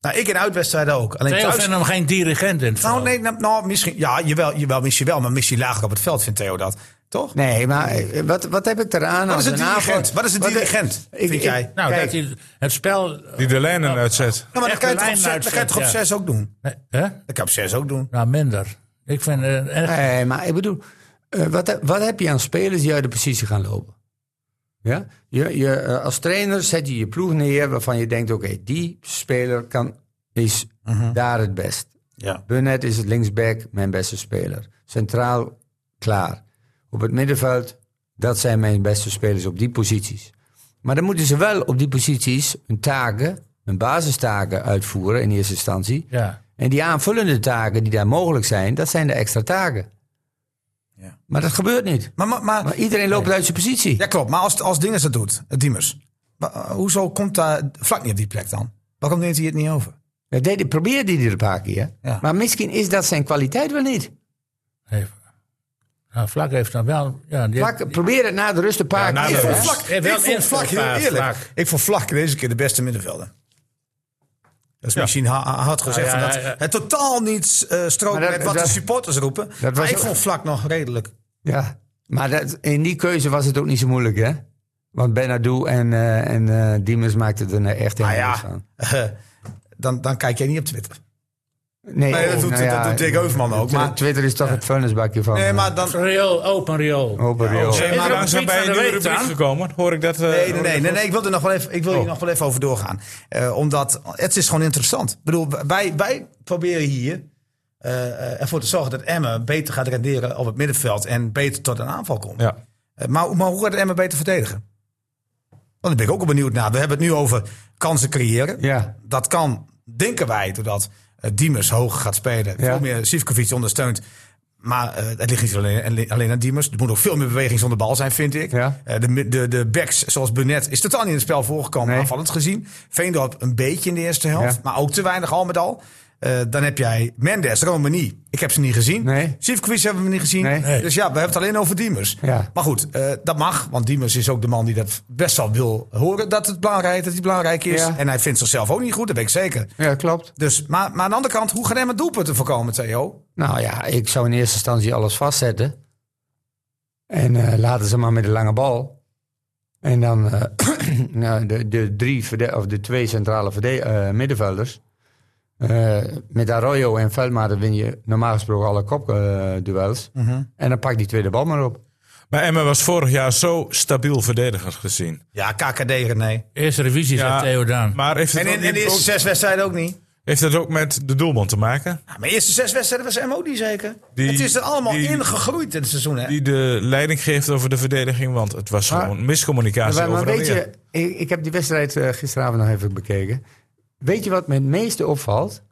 Nou, ik in uitwedstrijden ook. Alleen
Theo
thuis...
vindt hem geen dirigent in het
Nou,
veld.
nee, nou, nou, misschien... Ja, jawel, jawel, misschien wel. Maar misschien lager op het veld vindt Theo dat. Toch?
Nee, maar eh, wat, wat heb ik eraan?
Wat
als
is een
aanval-
dirigent? Wat is een
Wat-
dirigent,
ik-
vind
ik-
jij?
Nou,
Kijk.
dat hij het spel... eh,
Die de lijnen uitzet.
Ja, maar dan
echt
kan je
de
toch op
lijn
zes- dan kan je toch op
uitzet, ja.
zes ook doen?
Nee, hè?
Dat kan je op zes ook doen.
Nou, minder. Ik vind eh, echt...
Nee, maar ik bedoel, eh, wat, wat heb je aan spelers die uit de positie gaan lopen? Ja? Je, je, eh, als trainer zet je je ploeg neer waarvan je denkt, oké, die speler kan, is daar het best.
Ja.
Burnett is het linksback, mijn beste speler. Centraal, klaar. Op het middenveld, dat zijn mijn beste spelers op die posities. Maar dan moeten ze wel op die posities hun taken, hun basistaken uitvoeren in eerste instantie.
Ja.
En die aanvullende taken die daar mogelijk zijn, dat zijn de extra taken.
Ja.
Maar dat gebeurt niet.
Maar, maar, maar
Maar iedereen loopt uit zijn positie.
Ja, klopt. Maar als, als Dinges dat doet, eh, Diemers. wa- eh, hoezo komt daar vlak niet op die plek dan? Waarom neemt hij het niet over?
Dat deed, hij- probeerde hij er een paar keer.
Ja.
Maar misschien is dat zijn kwaliteit wel niet.
Even. Nou, Vlak heeft dan wel... Ja, die
Vlak, probeer het na de rust een paar
na de
keer. hè?
rust.
Vlak,
Hij heeft wel
ik vond vlak, heel
invalsbaar,
eerlijk.
Vlak.
Ik vond vlak deze keer de beste middenvelder. Dat is misschien ha- ha- hard gezegd.
Ja, ja,
van dat
ja, ja.
het totaal niet eh, strookt
Maar dat-
met wat
dat-
de supporters roepen.
was
maar ik
ook-
vond vlak nog redelijk.
Ja, maar dat, in die keuze was het ook niet zo moeilijk, hè? Want Benadou en, eh en eh, Diemers maakten er eh, echt heel
Maar
moeilijk
ja,
aan.
eh, dan, dan kijk jij niet op Twitter.
Nee,
Nee, dat
oh,
doet,
nou ja,
dat doet Dick Heuvelman ook.
Twi-
Maar,
Twitter is toch het vuilnisbakje van...
nee,
eh,
maar oh, dan,
Riool, open riool.
Open riool.
Is er
maar
ook een
Langzaam
tweet
bij
van
een
de
nieuwe
week
rubriek
dan?
gekomen. Hoor ik dat? Oh. eh,
Nee, nee, nee, nee, nee, ik wil, er nog wel even, ik wil hier nog wel even over doorgaan. Eh, omdat het is gewoon interessant. Ik bedoel, wij, wij proberen hier eh, ervoor te zorgen dat Emmen beter gaat renderen op het middenveld en beter tot een aanval komt.
Ja.
Eh, maar, maar hoe gaat Emmen beter verdedigen? Want daar ben ik ook wel benieuwd naar. We hebben het nu over kansen creëren.
Ja.
Dat kan, denken wij, doordat eh, Diemers hoog gaat spelen.
Ja.
Veel meer Sivkovic ondersteunt. Maar eh, het ligt niet alleen, alleen aan Diemers. Er moet ook veel meer beweging zonder bal zijn, vind ik.
Ja.
Eh, de, mi- de, de backs, zoals Burnett, is totaal niet in het spel voorgekomen.
Nee.
Aanvallend gezien. Veendorp een beetje in de eerste helft.
Ja.
Maar ook te weinig al met al. Eh, dan heb jij Mendes, Romani. Ik heb ze niet gezien.
Nee.
Sivkovic hebben we niet gezien.
Nee. Nee.
Dus ja, we hebben het alleen over Diemers.
Ja.
Maar goed, eh, dat mag. Want Diemers is ook de man die dat best wel wil horen. Dat het belangrijk, dat hij belangrijk is.
Ja.
En hij vindt zichzelf ook niet goed, dat weet ik zeker.
Ja, klopt.
Dus, maar, maar aan de andere kant, hoe gaan hem doelpunten voorkomen, Theo?
Nou ja, ik zou in eerste instantie alles vastzetten. En eh, laten ze maar met de lange bal. [CLEARS THROAT] En dan eh, nou, de, de, drie verde- of de twee centrale verde- eh, middenvelders. Eh, met Arroyo en Velmaar win je normaal gesproken alle kopduels. En dan pak die tweede bal maar op.
Maar Emma was vorig jaar zo stabiel verdedigend gezien.
Ja, KKD René.
Eerste revisie,
Ja,
zegt Theo Daan.
Maar heeft het,
En in,
ook,
in de
niet-
eerste
ook-
zes wedstrijden ook niet.
heeft het ook met de doelman te maken?
Ja, maar de eerste zes wedstrijden was MO die zeker.
Die-
het is er allemaal
die-
ingegroeid in het seizoen. Hè?
Die de leiding geeft over de verdediging, want het was
Maar-
gewoon miscommunicatie
maar, maar
over
weet je, ik, ik heb die wedstrijd eh, gisteravond nog even bekeken. Weet je wat me het meeste opvalt?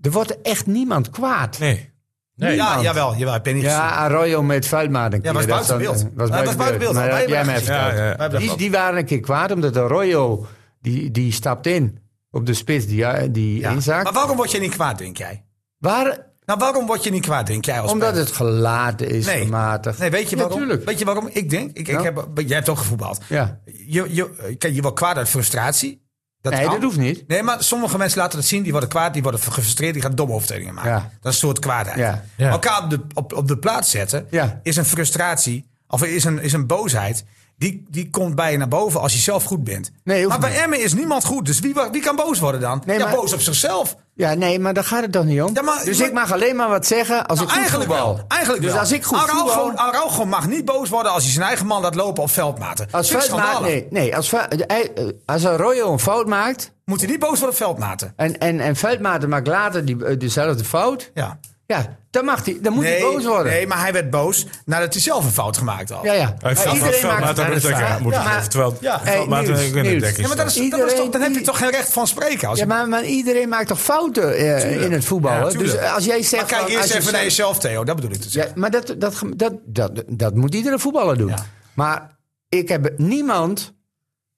Er wordt echt niemand kwaad.
Nee.
nee,
ja, jawel, jawel, heb je niet
Ja,
gezien.
Arroyo met Vuilmaat een
Ja,
keer.
was
Dat
buiten
dan- eh,
beeld. Ja, dat was buiten beeld.
Maar
Wij
dat heb jij
hebben
mij
gezien.
Ja,
verteld.
ja.
Wij hebben dat
Die,
gehad.
die waren een keer kwaad omdat Arroyo, die, die stapt in op de spits die, eh, die
Ja.
inzaakt.
Maar waarom word je niet kwaad, denk jij?
Waar,
Nou, waarom word je niet kwaad, denk jij? Als
omdat
speler?
het gelaten is,
Nee.
gematigd.
Nee, weet je waarom?
Natuurlijk.
Weet je waarom? Ik denk, ik,
Ja.
ik heb, jij hebt ook gevoetbald.
Ja.
Je, je, kijk, je wordt kwaad uit frustratie. Dat
Nee,
kan.
dat hoeft niet.
Nee, maar sommige mensen laten het zien. Die worden kwaad, die worden gefrustreerd, die gaan domme overtredingen maken.
Ja.
Dat is een soort kwaadheid.
Ja.
Ja.
Elkaar op de, op, op de plaats zetten
Ja.
is een frustratie of is een, is een boosheid. Die, die komt bij je naar boven als je zelf goed bent.
Nee, hoeft
maar bij
niet.
Emmen is niemand goed. Dus wie, wa- wie kan boos worden dan?
Nee,
ja,
maar-
boos op zichzelf.
Ja, nee, maar daar gaat het toch niet om.
Ja, maar-
dus
maar-
ik mag alleen maar wat zeggen als
Nou,
ik goed
eigenlijk
voetbal.
wel. Eigenlijk
dus
wel.
als ik goed
Araujo,
voetbal...
Araujo mag niet boos worden als hij zijn eigen man laat lopen op veldmaten.
Als,
Vind ik
Vuilmaat,
schandalig.
nee, nee, als, Vuil- hij- eh, als Arroyo een fout maakt
Moet hij niet boos worden op veldmaten.
en, en, en Veldmaat maakt later die, eh, dezelfde fout...
Ja.
Ja, dan, mag die, dan moet hij boos worden.
nee, maar hij werd boos nadat hij zelf een fout gemaakt had.
Ja, ja.
Hij
Maar
valt van
iedereen maakt
Veldmaat
het
aan
aan
de
het
dekker.
verhaal.
Moet
Ja,
ja.
maar-
Terwijl
Ja.
ja. Veldmaat
Hey,
hey,
Niels,
denk ik.
Ja, maar dat is, dat is
Iedereen
toch, dan heb je
die-
toch geen recht van spreken. Als
Ja,
je-
maar, maar iedereen maakt toch fouten eh, in het voetbal. hè? dus
tuurlijk.
eh, als jij
maar
zegt...
kijk
van,
eerst
als je
even naar
zegt-
jezelf, Theo. Dat bedoel ik dus. te
Ja,
zeggen.
maar dat, dat, dat, dat, dat moet iedere voetballer doen.
Ja.
Maar ik heb niemand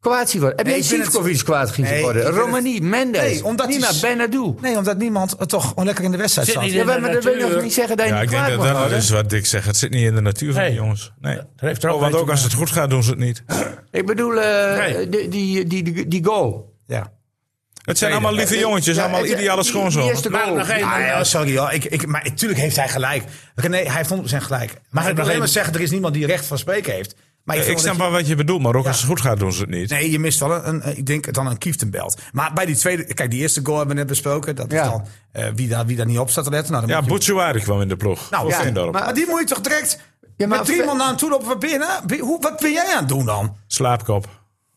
kwaad zien worden. Heb
Nee,
jij
ik vind
Sivkovic kwaad gezien
Nee,
worden?
ik vind het-
Romani, Mendes,
Nee, omdat die-
Nima, Benadou.
Nee, omdat niemand het toch gewoon lekker in de wedstrijd
Zit
zat.
niet
Ja,
in de
maar dat wil nog
natuur.
niet zeggen dat je
Ja,
niet
ik denk
kwaad
dat
wordt.
dat
worden.
is wat Dick zegt. Het zit niet in de natuur van
Nee.
die jongens. Nee.
heeft er ook
oh, want
mee
ook
te
als het goed gaat doen ze het niet.
Ik bedoel, eh,
Nee.
die, die, die, die, die goal.
Ja.
Het zijn allemaal lieve jongetjes.
Ja,
allemaal
het-
ideale
die- die
schoonzoons.
eerste
Mag ik
goal.
nog één?
Ah, ja, sorry hoor. Ik, ik, maar natuurlijk heeft hij gelijk. René, hij heeft 100% gelijk. Maar ik wil
nog
alleen
even-
maar zeggen, er is niemand die recht van spreken heeft. Maar ik,
Eh, Ik
vind wel
snap
dat
wel wat je bedoelt, maar ook als het goed gaat doen ze het niet.
Nee, je mist wel een, een- ik denk dan een kieftenbelt. Maar bij die tweede, kijk, die eerste goal hebben we net besproken. Dat
Ja.
is dan eh, wie, daar, wie daar niet op staat te letten. Nou, dan
Ja,
moet je-
Boetsuari kwam in de ploeg.
nou,
Voor
ja,
Veendorp.
maar, maar die moet je toch direct
Ja, maar
met drie
Ve-
man naar hem toe lopen. Wat ben, je nou- ben- hoe, wat ben jij aan het doen dan?
Slaapkop.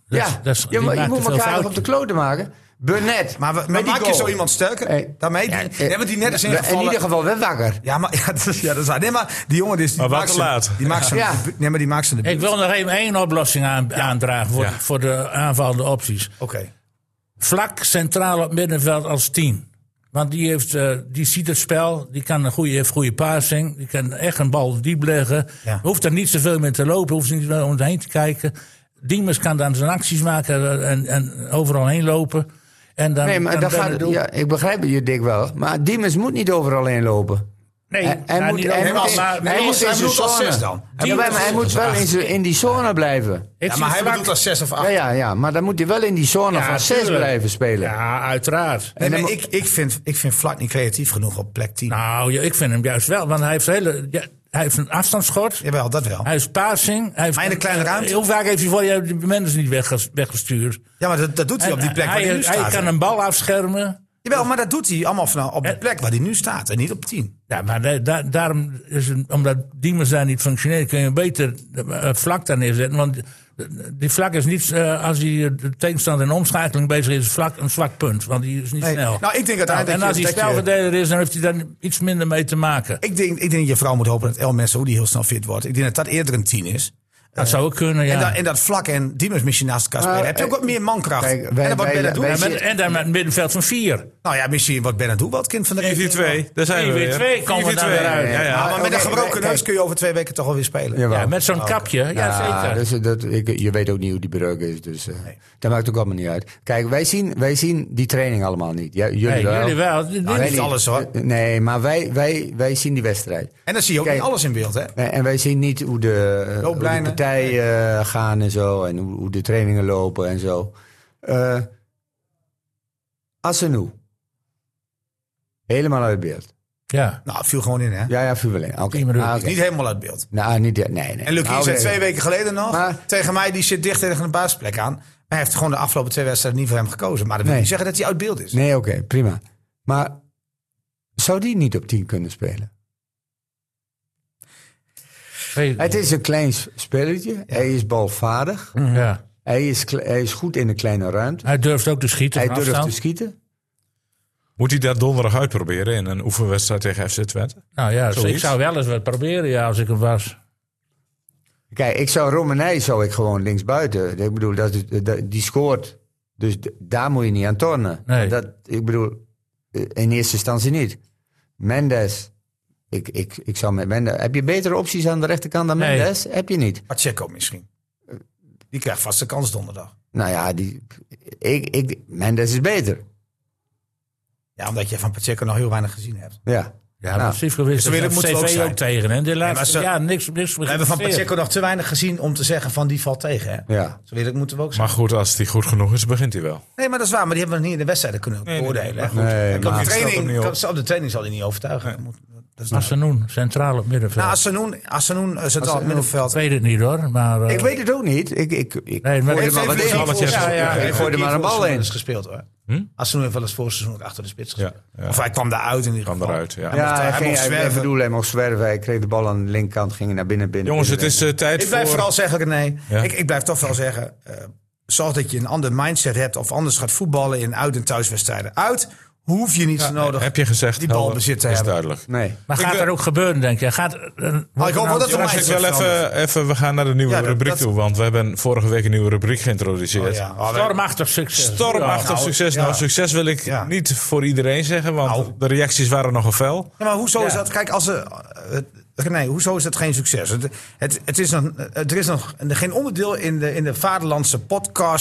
Dat is-
ja,
dat is-
je,
die
moet- je
maakt
moet
te veel
elkaar nog op
fouten.
de kloten maken. Burnett.
Maar, we- maar
met die
maak je
goal.
zo iemand sterker?
Hey.
Daarmee? Die,
Ja, eh,
nee, want die net is
In
ingevallen.
ieder geval wel wakker.
ja, maar [LAUGHS] ja, dat is, ja, dat is waar. Nee, maar die jongen die is. Die
Maar wat
maakt
te
zijn-
laat.
Die maakt zijn,
Ja.
debu- Nee, maar die maakt zijn debuut.
Ik wil nog even één oplossing aan, aandragen voor,
Ja.
voor de aanvallende opties.
Oké.
Vlak centraal op middenveld als tien. Want die, heeft, eh, die ziet het spel, die kan een goede, heeft goede passing, die kan echt een bal diep leggen.
Ja.
Hoeft er niet zoveel mee te lopen, hoeft niet om heen te kijken. Diemers kan dan zijn acties maken en, en overal heen lopen. En dan,
Nee, maar
dan
dat
ben
gaat,
het ook-
ja, ik begrijp je dik wel. Maar Diemers moet niet overal heen lopen.
nee,
Hij, hij
nou,
moet,
niet
hij
overal,
moet, in-
maar-
nee,
hij
als-
moet
hij
in zijn
bedoelt als
zone.
zes dan.
Ja, maar hij moet wel in, zijn- in die zone blijven.
ik
Ja,
zie
maar hij
Vlak-
bedoelt als 6 of 8.
Ja, ja, ja, maar dan moet hij wel in die zone
Ah. Ja,
van 6
tuurlijk.
blijven spelen.
Ja, uiteraard.
Nee,
dan
maar
mo-
ik, ik, vind, ik vind Vlak niet creatief genoeg op plek 10.
Nou, ja, ik vind hem juist wel, want hij heeft, hele, ja, hij heeft een afstandsschot.
Jawel, dat wel.
Hij heeft passing. Hij heeft Eh,
Maar in een kleine ruimte.
Hoe vaak heeft hij voor je de mensen niet wegges- weggestuurd?
Ja, maar dat, dat doet hij op die plek waar hij
hij,
nu staat.
hij kan Eh. een bal afschermen.
Jawel, maar dat doet hij allemaal vanaf op de plek waar hij nu staat en niet op 10.
Ja, maar da- da- daarom is het, omdat Diemers daar niet functioneert, kun je beter eh, vlak daar neerzetten. Want eh, die vlak is niet, eh, als hij de tegenstander in omschakeling bezig is, vlak een zwak punt. Want die is niet
Nee.
snel.
Nou, ik denk uiteindelijk
en
dat
als
je-
hij
dat je-
spelverdeler is, dan heeft hij daar iets minder mee te maken.
Ik denk, ik denk dat je vrouw moet hopen dat El Messi heel snel fit wordt. Ik denk dat dat eerder een 10 is.
Dat zou ook kunnen, ja.
En, dat, en dat vlak en Diemers misschien naast elkaar spelen.
Nou,
heb je ook
eh,
wat meer mankracht.
kijk, wij-
en dan wat
wij-
Benadou.
wij-
En met- en dan met een middenveld van vier.
nou ja, misschien wat Benadou wat kind van de regio.
4-4-2, daar zijn we
4-4-2
weer.
komen we dan
4-4-2,
weer uit.
Ja, ja.
Ja, maar met een
Ah, Oké,
gebroken
kijk.
neus kun je over twee weken toch alweer spelen.
Jawel.
Ja, met zo'n kapje. Ja,
Ja,
zeker.
dus dat, ik, je weet ook niet hoe die breuk is, dus eh, dat maakt ook allemaal niet uit. Kijk, wij zien, wij zien die training allemaal niet. Ja, jullie,
Nee,
wel. Eh,
jullie wel.
Nou,
Dit-
niet alles, hoor.
Nee, maar wij, wij, wij zien die wedstrijd.
En dan zie je ook
Kijk.
niet alles in beeld, hè?
Nee, En wij zien niet hoe de, eh, hoe de
Looplijnen.
partijen eh, gaan en zo. En hoe, hoe de trainingen lopen en zo. Eh Asenu. Helemaal uit beeld.
Ja.
Nou, het viel gewoon in, hè?
Ja, ja, Vubeling. Oké.
Tien minuten.
Ah,
Is
oké.
Niet helemaal uit beeld.
Nou, niet, nee, nee.
En Luc
Nou,
zei
nee.
twee weken geleden nog
Maar-
tegen mij, die zit dicht tegen een basisplek aan. Maar hij heeft gewoon de afgelopen twee wedstrijden niet voor hem gekozen. Maar dat wil
Nee.
niet zeggen dat hij uit beeld is.
Nee, oké, prima. Maar zou die niet op 10 kunnen spelen?
Weet
Het is een klein s- spelletje. Hij is balvaardig.
Ja.
Hij, is, kle- hij is goed in de kleine ruimte.
Hij durft ook te schieten
Hij
van
durft te
afstand.
schieten.
Moet hij dat donderdag uitproberen in een oefenwedstrijd tegen FC Twente?
Nou ja, dus ik
Zoiets.
zou wel eens wat proberen ja, als ik hem was.
Kijk, ik zou Romanij zou ik gewoon linksbuiten. Ik bedoel, dat, is- dat- die scoort. Dus d- daar moet je niet aan tornen.
Nee.
Dat, ik bedoel, eh, in eerste instantie niet. Mendes. Ik, ik, ik zou met Mendes. Heb je betere opties aan de rechterkant dan
Nee.
Mendes? Heb je niet.
Pacheco misschien. Die krijgt vast de kans donderdag.
Nou ja, die, ik, ik, Mendes is beter.
Ja, omdat je van Pacheco nog heel weinig gezien hebt.
Ja.
Ja,
Nou,
precies gewist.
ze willen-
dat
moeten ook
CV
zijn.
ook tegen. Hè? De laatste,
ze-
ja, niks, niks
We hebben van Pacheco nog te weinig gezien om te zeggen van die valt tegen. Hè?
ja.
Zo eerlijk moeten we ook zijn.
Maar goed, als hij goed genoeg is, begint hij wel.
Nee, maar dat is waar. Maar die hebben we nog niet in de wedstrijden kunnen
Nee, nee,
beoordelen.
maar
hè.
goed.
Nee,
Kijk,
maar-
op, de
Ik snap hem niet
training,
op.
kan- op de training zal hij niet overtuigen. Dat moet- Dat is nou-
Assenoen, centraal op middenveld.
nou, Assenoen, Assenoen eh, centraal
ik
middenveld.
weet het niet hoor, maar... eh,
Ik weet het ook niet. Ik, ik, ik
Nee, maar-
gooi
Heeft
er maar wat
wel eens
in.
balletjes.
voorseizoen-
Ja, ja,
ja.
heeft
Ik gooi er maar een bal
voorseizoen
in.
eens gespeeld hoor.
Hm?
Assenoen heeft wel eens voorseizoen ook achter de spits gespeeld.
Ja, ja.
Of hij kwam daaruit in ieder
Kan
geval.
eruit, ja.
mocht-
Ja, hij,
hij
ging,
mocht
hij, hij,
zwerven.
bedoelde, hij mocht zwerven. Hij kreeg de bal aan de linkerkant, ging naar binnen. binnen
Jongens, het
binnen,
is eh, tijd
Ik blijf
voor...
vooral zeggen, nee.
Ja.
Ik, ik blijf toch wel zeggen. eh, zorg dat je een ander mindset hebt. Of anders gaat voetballen in uit- en thuiswedstrijden. Uit hoef je niet zo nodig.
Heb je gezegd,
Die bal
Helder,
bezit te
is
hebben.
duidelijk.
binnen.
eh,
Nee.
Maar
Ik
gaat
ben-
er ook gebeuren, denk je? Gaat, eh,
Maar Ah, ik hoop
nou
wel dat we
Jongens, ik wil
mindset
even, even, we gaan naar de nieuwe
Ja, dat-
rubriek
dat-
toe, want we hebben vorige week een nieuwe rubriek geïntroduceerd.
veranderen. Oh, ja. Oh, wij-
Stormachtig succes.
Stormachtig
nou,
succes.
ja.
Nou, succes wil ik
Ja.
niet voor iedereen zeggen, want
Nou.
de reacties waren nogal fel.
Ja, maar hoezo is
Ja.
dat? Kijk, als ze. eh, nee, hoezo is dat geen succes? Het, het, het is nog, eh, er is nog geen onderdeel in de, in de vaderlandse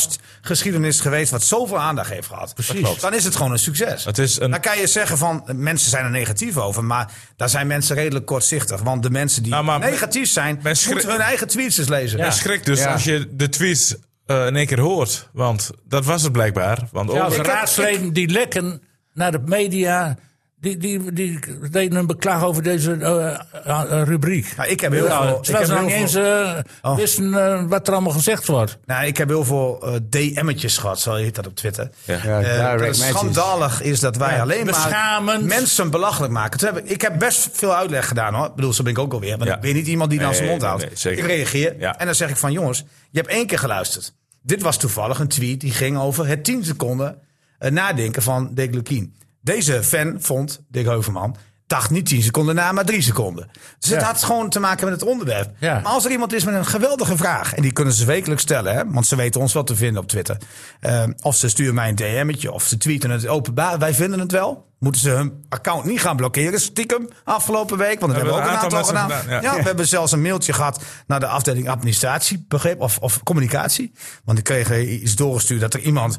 podcastgeschiedenis geweest. wat zoveel aandacht heeft gehad.
Precies. Dat klopt.
Dan is het gewoon een succes.
Het is een,
Dan kan je zeggen van. eh, mensen zijn er negatief over. Maar daar zijn mensen redelijk kortzichtig. Want de mensen die
Nou, maar
negatief zijn.
men schri-
moeten hun eigen tweets eens lezen.
een schrik dus
Ja.
als je de tweets eh, in één keer hoort, want dat was het blijkbaar. Want oh,
Zelfs
over-
raadsleden die lekken naar de media... Die, die, die deden een beklag over deze eh, eh, rubriek.
Nou, ik heb heel veel- ik
Terwijl
heb
ze
heel
nog niet eens
veel-
eh,
Oh.
wisten eh, wat er allemaal gezegd wordt.
Nou, ik heb heel veel eh, DM'tjes gehad, zo heet dat op Twitter.
Ja.
Ja,
Eh,
direct
dat het
matches.
schandalig is dat wij
Ja,
alleen maar
beschamend.
mensen belachelijk maken. Toen heb ik, ik heb best veel uitleg gedaan hoor. Ik bedoel, zo ben ik ook alweer. Want
Ja.
ik ben niet iemand die dan
Nee,
zijn mond
nee,
houdt.
nee, zeker.
ik reageer
Ja.
en dan zeg ik van jongens, je hebt één keer geluisterd. Dit was toevallig een tweet die ging over het 10 seconden eh, nadenken van Dick Lukien. Deze fan vond, Dick Heuvelman, dacht niet 10 seconden na, maar 3 seconden. Dus het
Ja.
had gewoon te maken met het onderwerp.
Ja.
Maar als er iemand is met een geweldige vraag, en die kunnen ze wekelijks stellen, hè, want ze weten ons wel te vinden op Twitter. Eh, of ze sturen mij een DM'tje, of ze tweeten het openbaar. Wij vinden het wel. Moeten ze hun account niet gaan blokkeren, stiekem, afgelopen week. Want dat hebben we ook een aantal,
mensen
gedaan.
gedaan, ja.
Ja, we hebben zelfs een mailtje gehad naar de afdeling administratie, begreep, of, of communicatie. Want ik kreeg eh, iets doorgestuurd dat er iemand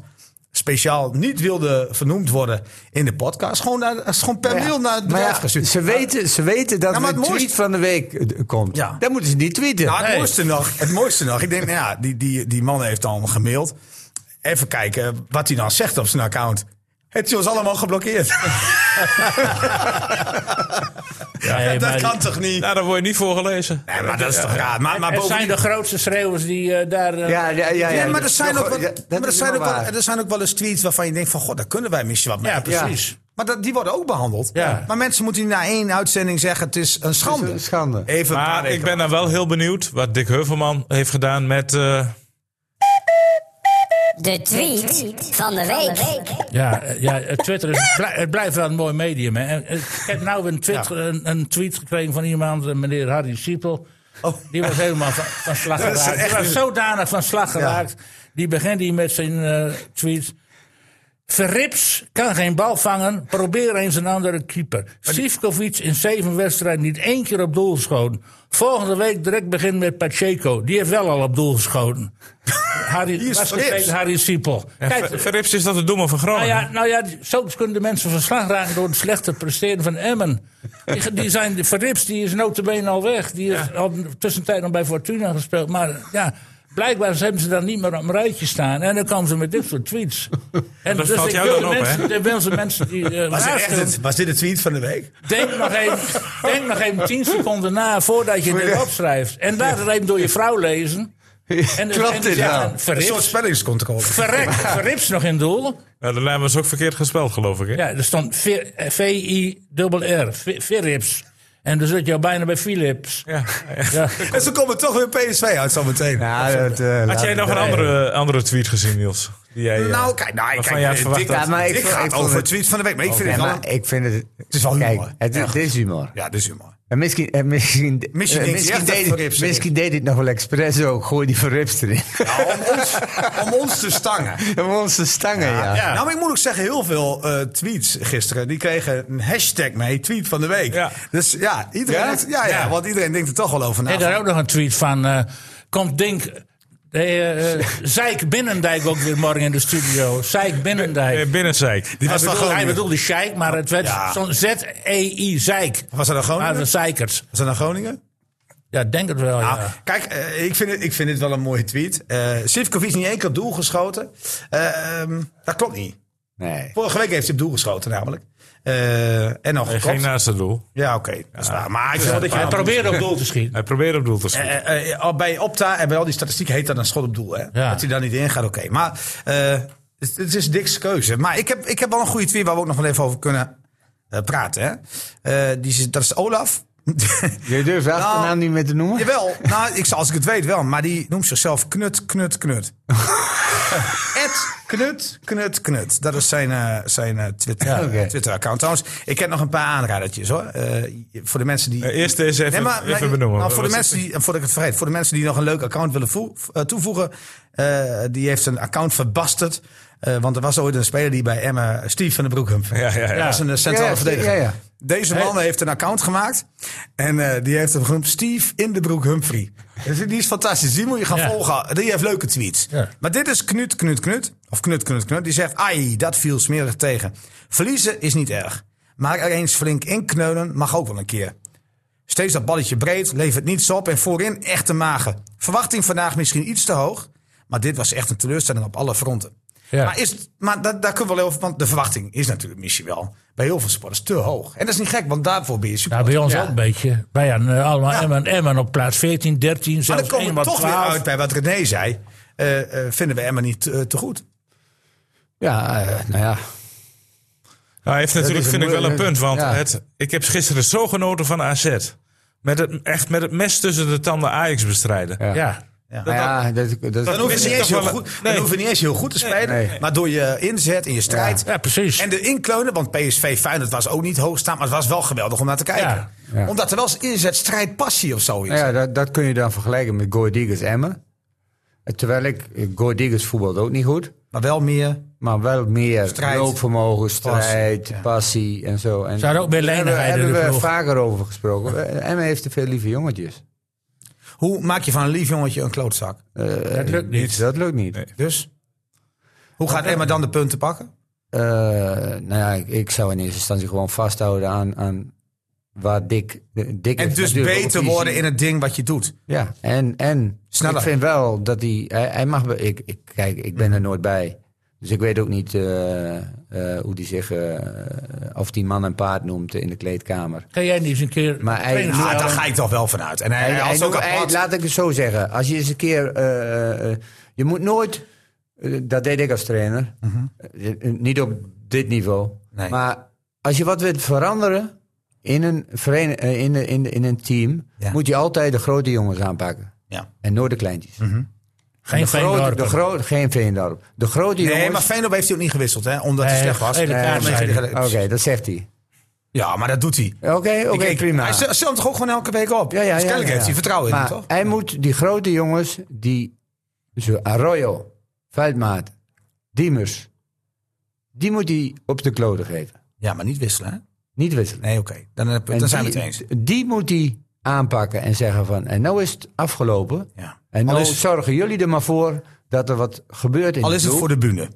speciaal niet wilde vernoemd worden in de podcast. Gewoon, naar, is gewoon per mail naar het
Maar
bedrijf
ja,
gestuurd.
ze, weten, ze weten dat
Ja, maar
er een
het
tweet
mooiste-
van de week eh, komt.
Ja.
Dan moeten ze niet tweeten.
Nou, het,
Nee.
mooiste nog, het mooiste nog. Ik denk, nou ja, die, die, die man heeft dan gemaild. Even kijken wat hij dan zegt op zijn account. Het is ons allemaal geblokkeerd. [LAUGHS]
Nee,
dat
maar-
kan toch niet?
Nou, daar word je niet voor gelezen.
Nee, maar dat is toch raar. Maar, maar
Het zijn
bovendien-
de grootste schreeuwers die eh, daar... eh,
ja, ja, ja, ja,
Ja, maar er zijn,
Nog-
ook wel,
ja, dat
maar er,
is
zijn ook
helemaal
wel,
waar.
er zijn ook wel eens tweets waarvan je denkt van... God, daar kunnen wij misschien wat mee.
ja, precies.
Maar dat, die worden ook behandeld.
Ja.
Maar mensen moeten niet na één uitzending zeggen... het is een schande.
Het is een schande.
Even een paar
Maar
weken
ik ben dan wel heel benieuwd wat Dick Heuvelman heeft gedaan met... eh,
De tweet van de week.
Ja, eh, ja eh, Twitter is, blij- het blijft wel een mooi medium. Hè. En, eh, Ik heb nou een, Twitter, een, een tweet gekregen van iemand, eh, meneer Harry Siepel. Die was helemaal van, van slag
Oh. [LAUGHS] Dat is
geraakt. Die
echt
was
een-
zodanig van slag geraakt. Die begint hier met zijn eh, tweet. Verrips kan geen bal vangen. Probeer eens een andere keeper. Sivkovic in zeven wedstrijden niet één keer op doel geschoten. Volgende week direct begin met Pacheco. Die heeft wel al op doel
[LAUGHS]
geschoten. Harry,
is
was gekregen
Verrips.
Harry Siepel. Kijk,
Ver- Verrips is dat de doemer van Groningen.
nou ja, nou ja, die- zo kunnen de mensen van slag raken door het slechte presteren van
[LAUGHS]
Emmen. Die, die zijn, de Verrips die is notabene al weg. Die is al tussentijd nog bij Fortuna gespeeld. Maar ja, blijkbaar hebben ze daar niet meer op een rijtje staan. En dan komen ze met dit soort
[LAUGHS]
tweets. En dus
dat valt
ik
jou
wil
dan
de
op,
mensen,
hè?
ik wil ze mensen die eh,
Was dit, echt
waarschuwen.
het, was dit de tweet van de week?
Denk
[LAUGHS]
nog, even, denk nog even tien seconden na voordat je dit opschrijft. En laat het even door je vrouw lezen. En,
Klopt
en, en,
inderdaad.
en
Een soort
verrips,
spellingscontrole.
verrek, verrips nog in doel.
Ja, Nou, de naam is ook verkeerd gespeld, geloof ik. Hè?
Ja, er stond Ver- eh, V-I-R-R, Ver- verrips. En dan zit je al bijna bij Philips.
Ja.
Ja.
En ze komen toch weer PSV uit zo meteen.
Ja, dat, eh,
Had
laat
jij
het
nog een
daar.
andere, andere tweet gezien, Niels? Die jij, eh,
nou, kijk, nou,
waarvan
kijk,
jij het
eh,
verwacht
Dick-
had.
Ja, maar ik,
Ik,
vond-
ga
ik
het
vond
over
het... Oh,
tweet van de week. Maar ik vind
Ja,
het wel...
maar ik vind het... Het
is wel humor.
het, is- dit is humor.
Ja, dit is humor.
En misschien, eh,
[LAUGHS]
misschien, eh,
Misschien denkt hij echt dat
deed,
Verrips
het,
erin.
misschien deed hij het nog wel expres ook. Gooi die verrips erin.
om, ons, om ons te stangen.
[LAUGHS] Om onze stangen, ja.
Nou, maar ik moet ook zeggen, heel veel eh, tweets gisteren, die kregen een hashtag mee, tweet van de week.
Ja.
Dus ja, iedereen,
Ja?
denkt- Ja, ja,
Ja.
want iedereen denkt er toch wel over na.
Ik had ook nog een tweet van. eh, komt Dink. eh, eh, Zeik Binnendijk ook weer morgen in de studio. Zeik Binnendijk.
Eh, Binnenzijk.
Die
hij,
was
bedoelde, hij
van
bedoelde Sheik, maar het werd
Ja.
zo'n Z-E-I Zeik.
Was Ah, dat dan
Maar de
Groningen?
Zeikers.
Was dat dan Groningen?
Ja, denk het wel.
Nou,
ja.
Kijk, eh, ik, vind het, ik vind het wel een mooie tweet. Eh Sivkovic niet één keer op doel geschoten. Eh, ehm, dat klopt niet.
Nee.
Vorige week heeft hij op doel geschoten namelijk. Eh, en nog
Hij
gekopt.
ging naast het doel.
Ja, oké. dat is waar. Maar ik vind wel dat je...
Hij probeerde op doel te schieten.
Hij probeerde op doel te schieten.
Eh, eh, eh, al bij Opta en bij al die statistieken heet dat een schot op doel. Hè?
Ja.
Dat hij daar niet in gaat, oké. Maar eh, het, het is Dick's keuze. Maar ik heb, ik heb wel een goede tweet waar we ook nog wel even over kunnen eh, praten. Hè? Eh, die, is- dat is Olaf. [LAUGHS]
Je durft de achternaam niet meer te noemen?
Nou, Jawel, nou, ik, zal- als ik het weet wel. Maar die noemt zichzelf Knut, Knut,
[LAUGHS]
Knut. Ed Knut, Knut, Knut. Dat is zijn, eh, zijn eh, Twitter,
oké.
Twitter-account. Trouwens, ik heb nog een paar aanradertjes hoor. Eh, voor de mensen die...
Eh, Eerst deze even,
Nee, maar-
even
maar-
benoemen.
nou, voor, de
Wat
mensen die, voordat ik het vergeet, voor de mensen die nog een leuk account willen voe- eh, toevoegen. eh, die heeft een account verbasterd. eh, want er was ooit een speler die bij Emma, Steve van den Broekhump.
Ja, ja, ja.
Dat was een eh, centrale
Ja, ja,
verdediger.
ja, ja.
Deze man heeft een account gemaakt. En eh, die heeft hem genoemd Steve in de Broek Humphrey. Dus die is fantastisch. Die moet je gaan
Ja.
volgen. Die heeft leuke tweets.
Ja.
Maar dit is Knut, Knut, Knut. Of Knut, Knut, Knut. Die zegt, ai, dat viel smerig tegen. Verliezen is niet erg. Maar er eens flink inkneulen mag ook wel een keer. Steeds dat balletje breed, levert niets op en voorin echte magen. Verwachting vandaag misschien iets te hoog, maar dit was echt een teleurstelling op alle fronten.
Ja.
Maar, is, het- maar dat, daar kunnen we wel over, want de verwachting is natuurlijk misschien wel bij heel veel sporters te hoog. En dat is niet gek, want daarvoor ben je super.
Nou, bij ons ook een beetje. Wij hadden eh, allemaal
Ja.
Emmen, Emmen op plaats 14, 13,
maar
zelfs
dan komen we
1
toch weer
12.
uit bij wat René zei. Eh, eh, vinden we Emma niet eh, te goed?
Ja, eh, nou ja.
Nou, hij heeft natuurlijk,
is een
vind ik wel een
moeilijke-
punt. Want
ja.
het, ik heb gisteren zo genoten van AZ. Met het, echt met het mes tussen de tanden Ajax bestrijden.
Ja.
Ja.
Nou ja, dat, dat,
Dan hoef je
Is
niet
het
eens
toch
heel
wel-
goed-
Nee.
dan hoef je niet eens heel goed te spelen.
nee.
Maar door je inzet en je strijd.
ja, precies.
En de inkleunen, want PSV Feyenoord was ook niet hoogstaand, maar het was wel geweldig om naar te kijken.
Ja.
Ja.
Omdat er wel eens inzet, strijd, passie of zo is.
nou ja, dat, dat kun je dan vergelijken met Go Eagles Emmen. Eh, Terwijl ik, eh, Go Eagles voetbalt ook niet goed.
Maar wel meer.
Maar wel meer
Strijd.
loopvermogen, strijd, passie, en zo. En
Ze hadden ook meer
daar hebben,
lenigheid in
hebben
de
we
ploeg.
vaker over gesproken. Eh, Emmen heeft te veel lieve jongetjes.
Hoe maak je van een lief jongetje een klootzak?
Dat lukt niet.
Dat lukt niet.
Dus? Hoe gaat Emma dan de punten pakken?
Eh, nou ja, ik, ik zou in eerste instantie gewoon vasthouden aan, aan waar Dick, Dick
En
heeft
dus
natuurlijk ook
beter
visie.
worden in het ding wat je doet.
Ja, en, en
Sneller.
ik vind wel dat hij... Hij, hij mag... wel- Ik, ik, kijk, ik
Mhm.
ben er nooit bij. Dus ik weet ook niet eh, eh, hoe die zich... eh, of die man en paard noemt in de kleedkamer.
Ga jij niet eens een keer.
Maar hij-
trainen?
Ah, daar ga ik toch wel vanuit. En hij,
Hij,
hij,
hij
als ook
noemt- hij-
apart.
laat ik het zo zeggen. Als je eens een keer... eh, eh, je moet nooit... eh, dat deed ik als trainer. Eh, eh, niet op dit niveau.
Mhm. Nee.
Maar als je wat wilt veranderen in een, verene- eh, in, een- in, een- in een team...
Ja.
moet je altijd de grote jongens aanpakken.
Ja.
En nooit de kleintjes.
Mhm.
Geen
de grote,
Veendorp.
de grote, geen Veendorp. De grote
Nee,
jongens...
maar Feyenoord heeft hij ook niet gewisseld, hè? Omdat hij
Nee,
slecht was.
gele kaart,
Omdat je-
zei
Oké, dat zegt hij.
Ja, maar dat doet hij.
Oké, oké,
Ik- ik-
prima.
Hij zet zet hem toch ook gewoon elke week op?
Ja, ja,
Dus
ja,
kennelijk
ja,
heeft
ja.
hij vertrouwen in,
Maar
toch?
hij moet die grote jongens, die zo Arroyo, Veldmaat, Diemers, die moet hij op de kloten geven.
Ja, maar niet wisselen, hè?
Niet wisselen.
Nee, oké. Dan, heb- dan
En
zijn we
die,
het eens.
Die moet hij aanpakken en zeggen van, en nou is het afgelopen.
Ja.
En
Al
nou
is-
zorgen jullie er maar voor dat er wat gebeurt in
Al
de
is het
ploeg.
voor de bühne.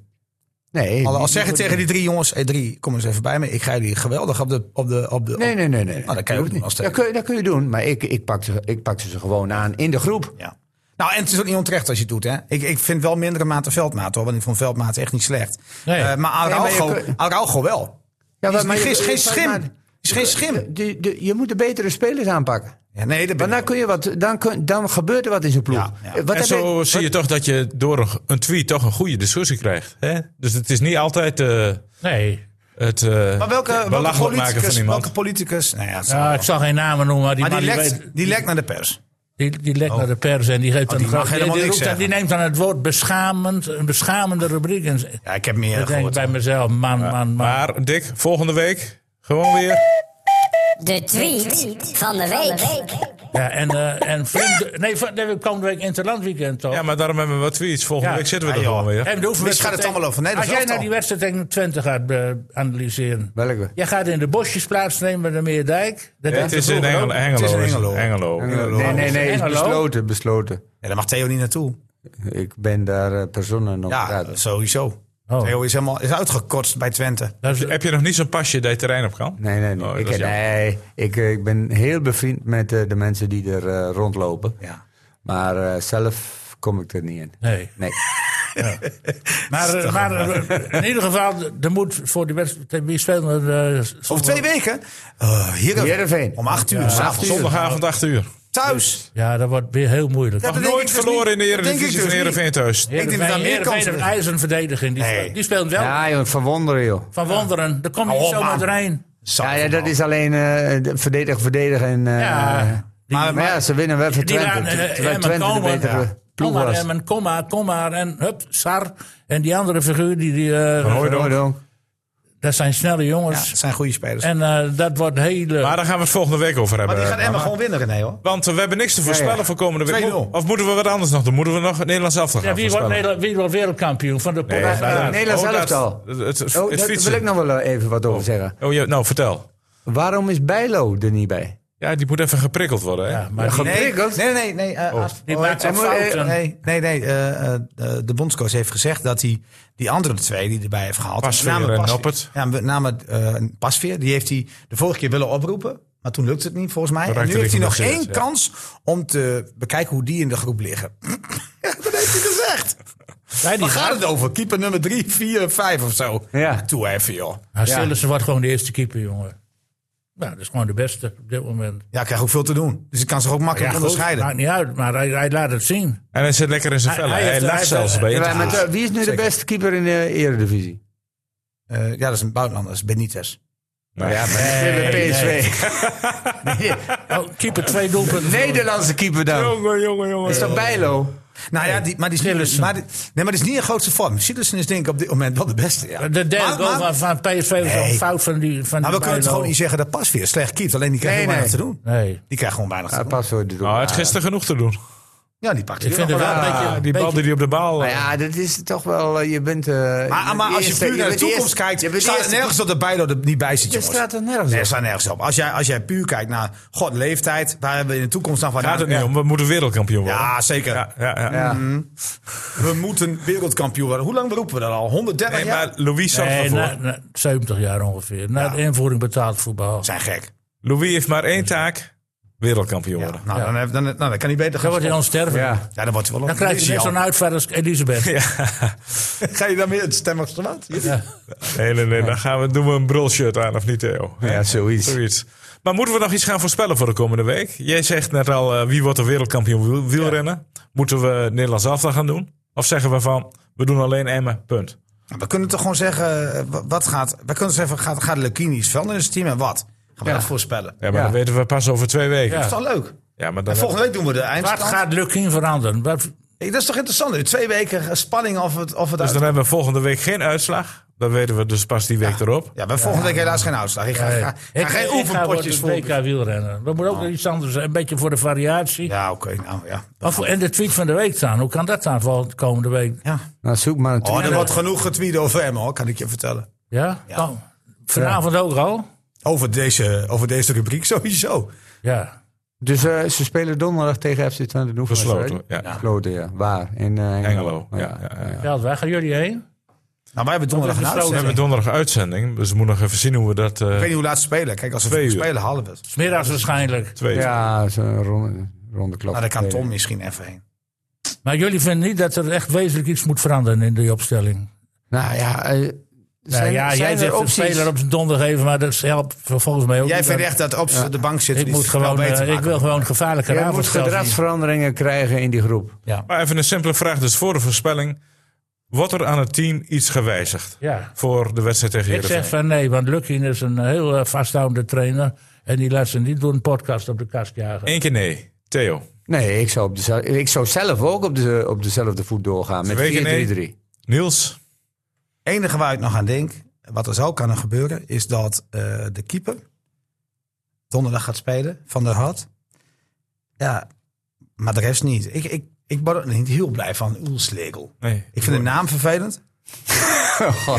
Nee.
Al,
die-
al zeggen tegen die drie jongens, hey, drie, kom eens even bij me. Ik ga jullie geweldig op de... Op de, op de
Nee, nee, nee. nee.
Nou, dat kan je ook doen als
dat,
trainer.
kun, je- dat kun je doen, maar ik, ik, pak ze, ik pak ze ze gewoon aan in de groep.
Ja. Nou, en het is ook niet onterecht als je het doet, hè? Ik, ik vind wel mindere mate veldmaat, hoor. Want ik vond veldmaat echt niet slecht.
Nee.
Eh, maar Araujo,
Nee, maar je kun-
Araujo wel.
Ja,
Die is,
maar
die
je-
is geen
maar-
schim. Die is geen schim.
De, de, je moet de betere spelers aanpakken.
Ja, nee, dat ben
Maar
ik
dan, kun je wat, dan, kun, dan gebeurt er wat in zo'n ploeg.
Ja, ja.
Eh, Wat
en
heb
zo
ik-
zie je toch dat je door een- een tweet toch een goede discussie krijgt. Hè? Dus het is niet altijd eh,
Nee.
het eh
nou, Maar welke, welke
belachelijk maken van
politicus?
iemand.
Welke politicus? Nou ja, het zal
Ja,
wel.
ik zal geen namen noemen, maar die
maar
man
die
die,
lekt,
weet-
die lekt naar de pers.
die, die lekt naar de pers en die geeft dan
die mag
gewoon-
helemaal
die,
niks
roept dan- die neemt dan het woord beschamend, een beschamende rubriek. En,
Ja, ik heb meer
ik denk
gehoord.
ik bij mezelf, man, man, man.
Maar Dick, volgende week gewoon weer.
De tweet van de week.
Ja, en, eh, en Flink, nee, van- nee, we komen de week interlandweekend toch?
Ja, maar daarom hebben we wat tweets. Volgende
Ja.
week zitten we er
Ja, Ah, joh.
gewoon weer.
En de oefenwedstrijd
Misschien gaat het
tegen-
allemaal over Nederland
Als jij
elftal.
naar die wedstrijd tegen Twente gaat eh, analyseren.
Welke?
Jij gaat in de bosjes plaatsnemen bij de Meerdijk. Dat
het is in Engel,
Engeland.
Engelo.
Het is in
is het.
Engelo.
Engelo.
Nee, nee, nee, is
Engelo?
besloten, besloten.
Ja, daar mag Theo niet naartoe.
Ik ben daar eh, persona nog
Ja,
gratis.
sowieso.
Oh.
Theo is helemaal is uitgekotst bij Twente.
Dat is-
Heb je nog niet zo'n pasje dat je terrein op kan?
Nee, nee, nee.
Oh, dat
ik,
is jammer.
nee ik, eh, ik ben heel bevriend met eh, de mensen die er eh, rondlopen.
Ja.
Maar eh, zelf kom ik er niet in.
nee.
Nee.
Maar, eh, maar eh, in ieder geval, er moet voor die wedstrijd. Wie speelt er? eh,
Over twee weken? eh Heerenveen.
Heerenveen.
Om acht uur. s'avonds.
Zondagavond 8 uur.
Thuis.
Ja, dat wordt weer heel moeilijk.
Ja,
Nog
dat denk
nooit
ik dus
verloren in de
niet. Dat denk ik
Eredivisie
dus
van
niet.
Heerenveen thuis.
denk dat daar meer kansen
een
liggen.
ijzerverdediging. Die,
Nee.
die speelt wel.
Ja, joh, verwonderen, joh.
Van Wonderen, daar kom je
Hou
niet
op,
zomaar
man.
doorheen.
Ja, ja, dat is alleen eh, de- verdedigen, verdedigen. En, eh,
Ja.
maar, maar ja, ze winnen wel van
Die
Twente.
laat
Ter-
eh,
Terwijl
Emmen
Twente de
komen.
betere
Ja. Kom
ploeg
maar,
was.
Emmen, kom maar, kom maar. En hup, Sar. En die andere figuur, die, die, eh,
Hooijdonk.
dat zijn snelle
Ja,
jongens.
het zijn goede spelers.
En eh, dat wordt hele...
Maar daar gaan we het volgende week over
maar
hebben.
die gaat Emma
Mama.
gewoon winnen, René, hoor.
Want eh, we hebben niks te voorspellen voor komende week.
2-0.
Of moeten we wat anders nog doen? Moeten we nog het Nederlands elftal gaan
ja, wie, wordt
voorspellen?
Nederland- wie wordt wereldkampioen van de
Nee,
Ja,
inderdaad.
eh, Nederlands
Oh, dat-
elftal.
Het, het, het
Oh, daar
fietsen.
wil ik nog wel eh, even wat over zeggen.
Oh, ja, nou, vertel.
Waarom is Bijlo er niet bij?
Ja, die moet even geprikkeld worden. Hè?
maar die-
Nee,
Geprikkeld?
nee, nee. nee eh, als-
Die
oh,
maakt
hij
wel
moet- eh,
fouten.
Nee, nee, nee eh, eh, de bondscoach heeft gezegd dat hij die andere twee die hij erbij heeft gehaald...
Pasveer
met name
en
Pasveer-
Noppert.
Ja, met name eh, Pasveer. Die heeft hij de vorige keer willen oproepen. Maar toen lukte het niet, volgens mij.
Dan
En
raakte
nu heeft hij
hij
nog één
geblesseerd, ja.
kans om te bekijken hoe die in de groep liggen. [CLEARS THROAT] Ja, dat heeft hij gezegd.
Wij die
Waar gaat het over? Keeper nummer drie, vier, vijf of zo.
Ja.
Toe even, joh.
Nou, Sillissen wordt gewoon de eerste keeper, jongen. Nou, dat is gewoon de beste op dit moment.
Ja, ik krijg ook veel te doen. Dus ik kan zich ook makkelijk
goed,
onderscheiden.
Maakt niet uit, maar hij, hij laat het zien.
En hij zit lekker in zijn
Hij-
vellen. Hij,
hij heeft-
lacht
hij
zelfs
heeft-
bij
Ja, maar
interviews.
met, eh, wie is nu de beste keeper in de Eredivisie?
Eh, ja, dat is een buitenlander. Dat is Benitez.
Ja, maar dat is weer
[LAUGHS]
PSV.
Oh, keeper twee doelpunten.
Nederlandse keeper dan.
Jongen, jongen, jongen.
Is dat Bijlo?
Nou ja, die, maar die is, niet, maar die- nee, maar die is niet in grootste vorm. Sillissen is denk ik op dit moment wel de beste. Ja.
De derde
maar,
goal
maar-
van, van PSV was
Nee.
een fout van die van
maar we
die
kunnen het
Bijlo.
gewoon niet zeggen dat Pasveer slecht keept. Alleen die krijgt
Nee,
gewoon weinig
nee.
te doen.
Nee.
Die krijgt gewoon weinig te
Ah,
doen.
pas hoor, dit
Nou, hij heeft gisteren genoeg te doen.
Ja, die pakt
Ik vind
wel.
het wel een beetje...
Ah,
Die bal die hij op de baal...
Ah, Maar
eh,
ja, dat is toch wel, eh, je bent... eh,
Maar, maar als
eerste-
je puur naar de
bent
toekomst
eerste-
kijkt,
je bent
staat
eerste-
nergens dat de Bijlo er niet bij zit,
Er
jongens.
staat er nergens
Nee,
op.
er staat nergens op. Als jij, als jij puur kijkt naar god, leeftijd, waar hebben we in de toekomst nog van
Gaat het niet om. We moeten wereldkampioen worden.
Ja, zeker.
ja, ja. ja.
Ja.
We moeten wereldkampioen worden. Hoe lang roepen we dat al? 130
Nee,
jaar?
maar Louis zat
Nee,
ervoor.
na, na 70 jaar ongeveer. Na
Ja.
de invoering betaald voetbal.
We zijn gek.
Louis heeft maar één taak. Wereldkampioen
Ja,
worden.
nou, dan, heb- dan, nou, dan kan hij beter
Dan
gaan.
wordt hij
sporten.
onsterfelijk.
Ja.
Ja, dan wordt hij wel
Dan krijg je net zo'n uitvaart als Elisabeth.
Ga je dan weer het stemmigste wat?
Nee, nee, nee. Dan gaan we, doen we een brulshirt aan, of niet, Theo?
Ja, zoiets.
Zoiets. Maar moeten we nog iets gaan voorspellen voor de komende week? Jij zegt net al, eh, wie wordt de wereldkampioen wiel- wielrennen? Moeten we het Nederlands elftal gaan doen? Of zeggen we van, we doen alleen Emmen, punt.
We kunnen toch gewoon zeggen, eh, wa- wat gaat... We kunnen zeggen, gaat, gaat Leukini iets veranderen in het team en wat? Gaan we dat voorspellen.
Ja, maar dat weten we pas over twee weken.
Dat
Ja,
is toch leuk?
maar dan
En volgende week doen we de
Wat
eindstand.
gaat Lukin veranderen? Wat,
Hey, dat is toch interessant? In twee weken spanning of het... Of het
Dus dan hebben we volgende week geen uitslag. Dan weten we dus pas die week erop.
ja, we hebben volgende week helaas geen uitslag. Ik ga,
Nee.
ga, ga
ik,
geen
ik ga voor
oefenpotjes Oh.
het
voor.
WK wielrennen. We moeten ook iets anders, een beetje voor de variatie.
Ja, oké. nou, ja.
Maar voor- en de tweet van de week dan, hoe kan dat dan voor de komende week?
ja.
Nou, zoek maar een
Oh,
tweet.
er wordt genoeg getweet over hem, hoor. Kan ik je vertellen.
Ja? Oh, vanavond ook al?
Over deze, Eh, over deze rubriek [LAUGHS] sowieso. Nou,
Ja.
Dus eh, ze spelen donderdag tegen FC Twente. Noeven,
Besloten, ja.
Gesloten, ja. Waar? In eh, Engelo.
Engelo. Ja, ja, ja. We
Ja, waar gaan jullie heen?
Nou, wij hebben donderdag een
gesloten.
uitzending.
hebben donderdag uitzending. Dus we moeten nog even zien hoe we dat... eh,
Ik weet niet hoe laat ze spelen. Kijk, als ze
Twee
vroeg
uur.
spelen, halen we het.
Smiddags waarschijnlijk.
twee.
Ja, zo'n ronde, ronde klok.
Nou, daar kan Tom misschien even heen.
Maar jullie vinden niet dat er echt wezenlijk iets moet veranderen in die opstelling?
Nou ja, eh,
Nou
zijn,
ja,
zijn
jij
er
zegt een
opties?
speler op zijn donder geven, maar dat helpt volgens mij ook
Jij
niet.
vindt echt dat op de bank zitten.
Ik, moet gewoon, eh, ik wil gewoon gevaarlijke
Je moet
avond
gedragsveranderingen krijgen in die groep.
Maar even een simpele vraag dus voor de voorspelling. Wordt er aan het team iets gewijzigd
Ja.
voor de wedstrijd tegen
Ik zeg
Heerenveen?
van nee, want Lukin is een heel eh, vasthoudende trainer. En die laat ze niet door een podcast op de kast jagen.
Eén keer nee. Theo,
Nee, ik zou, op dezelfde, ik zou zelf ook op, de, op dezelfde voet doorgaan met 4-3-3.
Weken nee. Niels,
enige waar ik nog aan denk, wat er zou kunnen gebeuren, is dat eh, de keeper donderdag gaat spelen, Van der Hart. Ja, maar de rest niet. Ik, ik, ik ben er niet heel blij van, Oelslegel.
nee.
Ik vind de naam vervelend.
Ja,
Oh,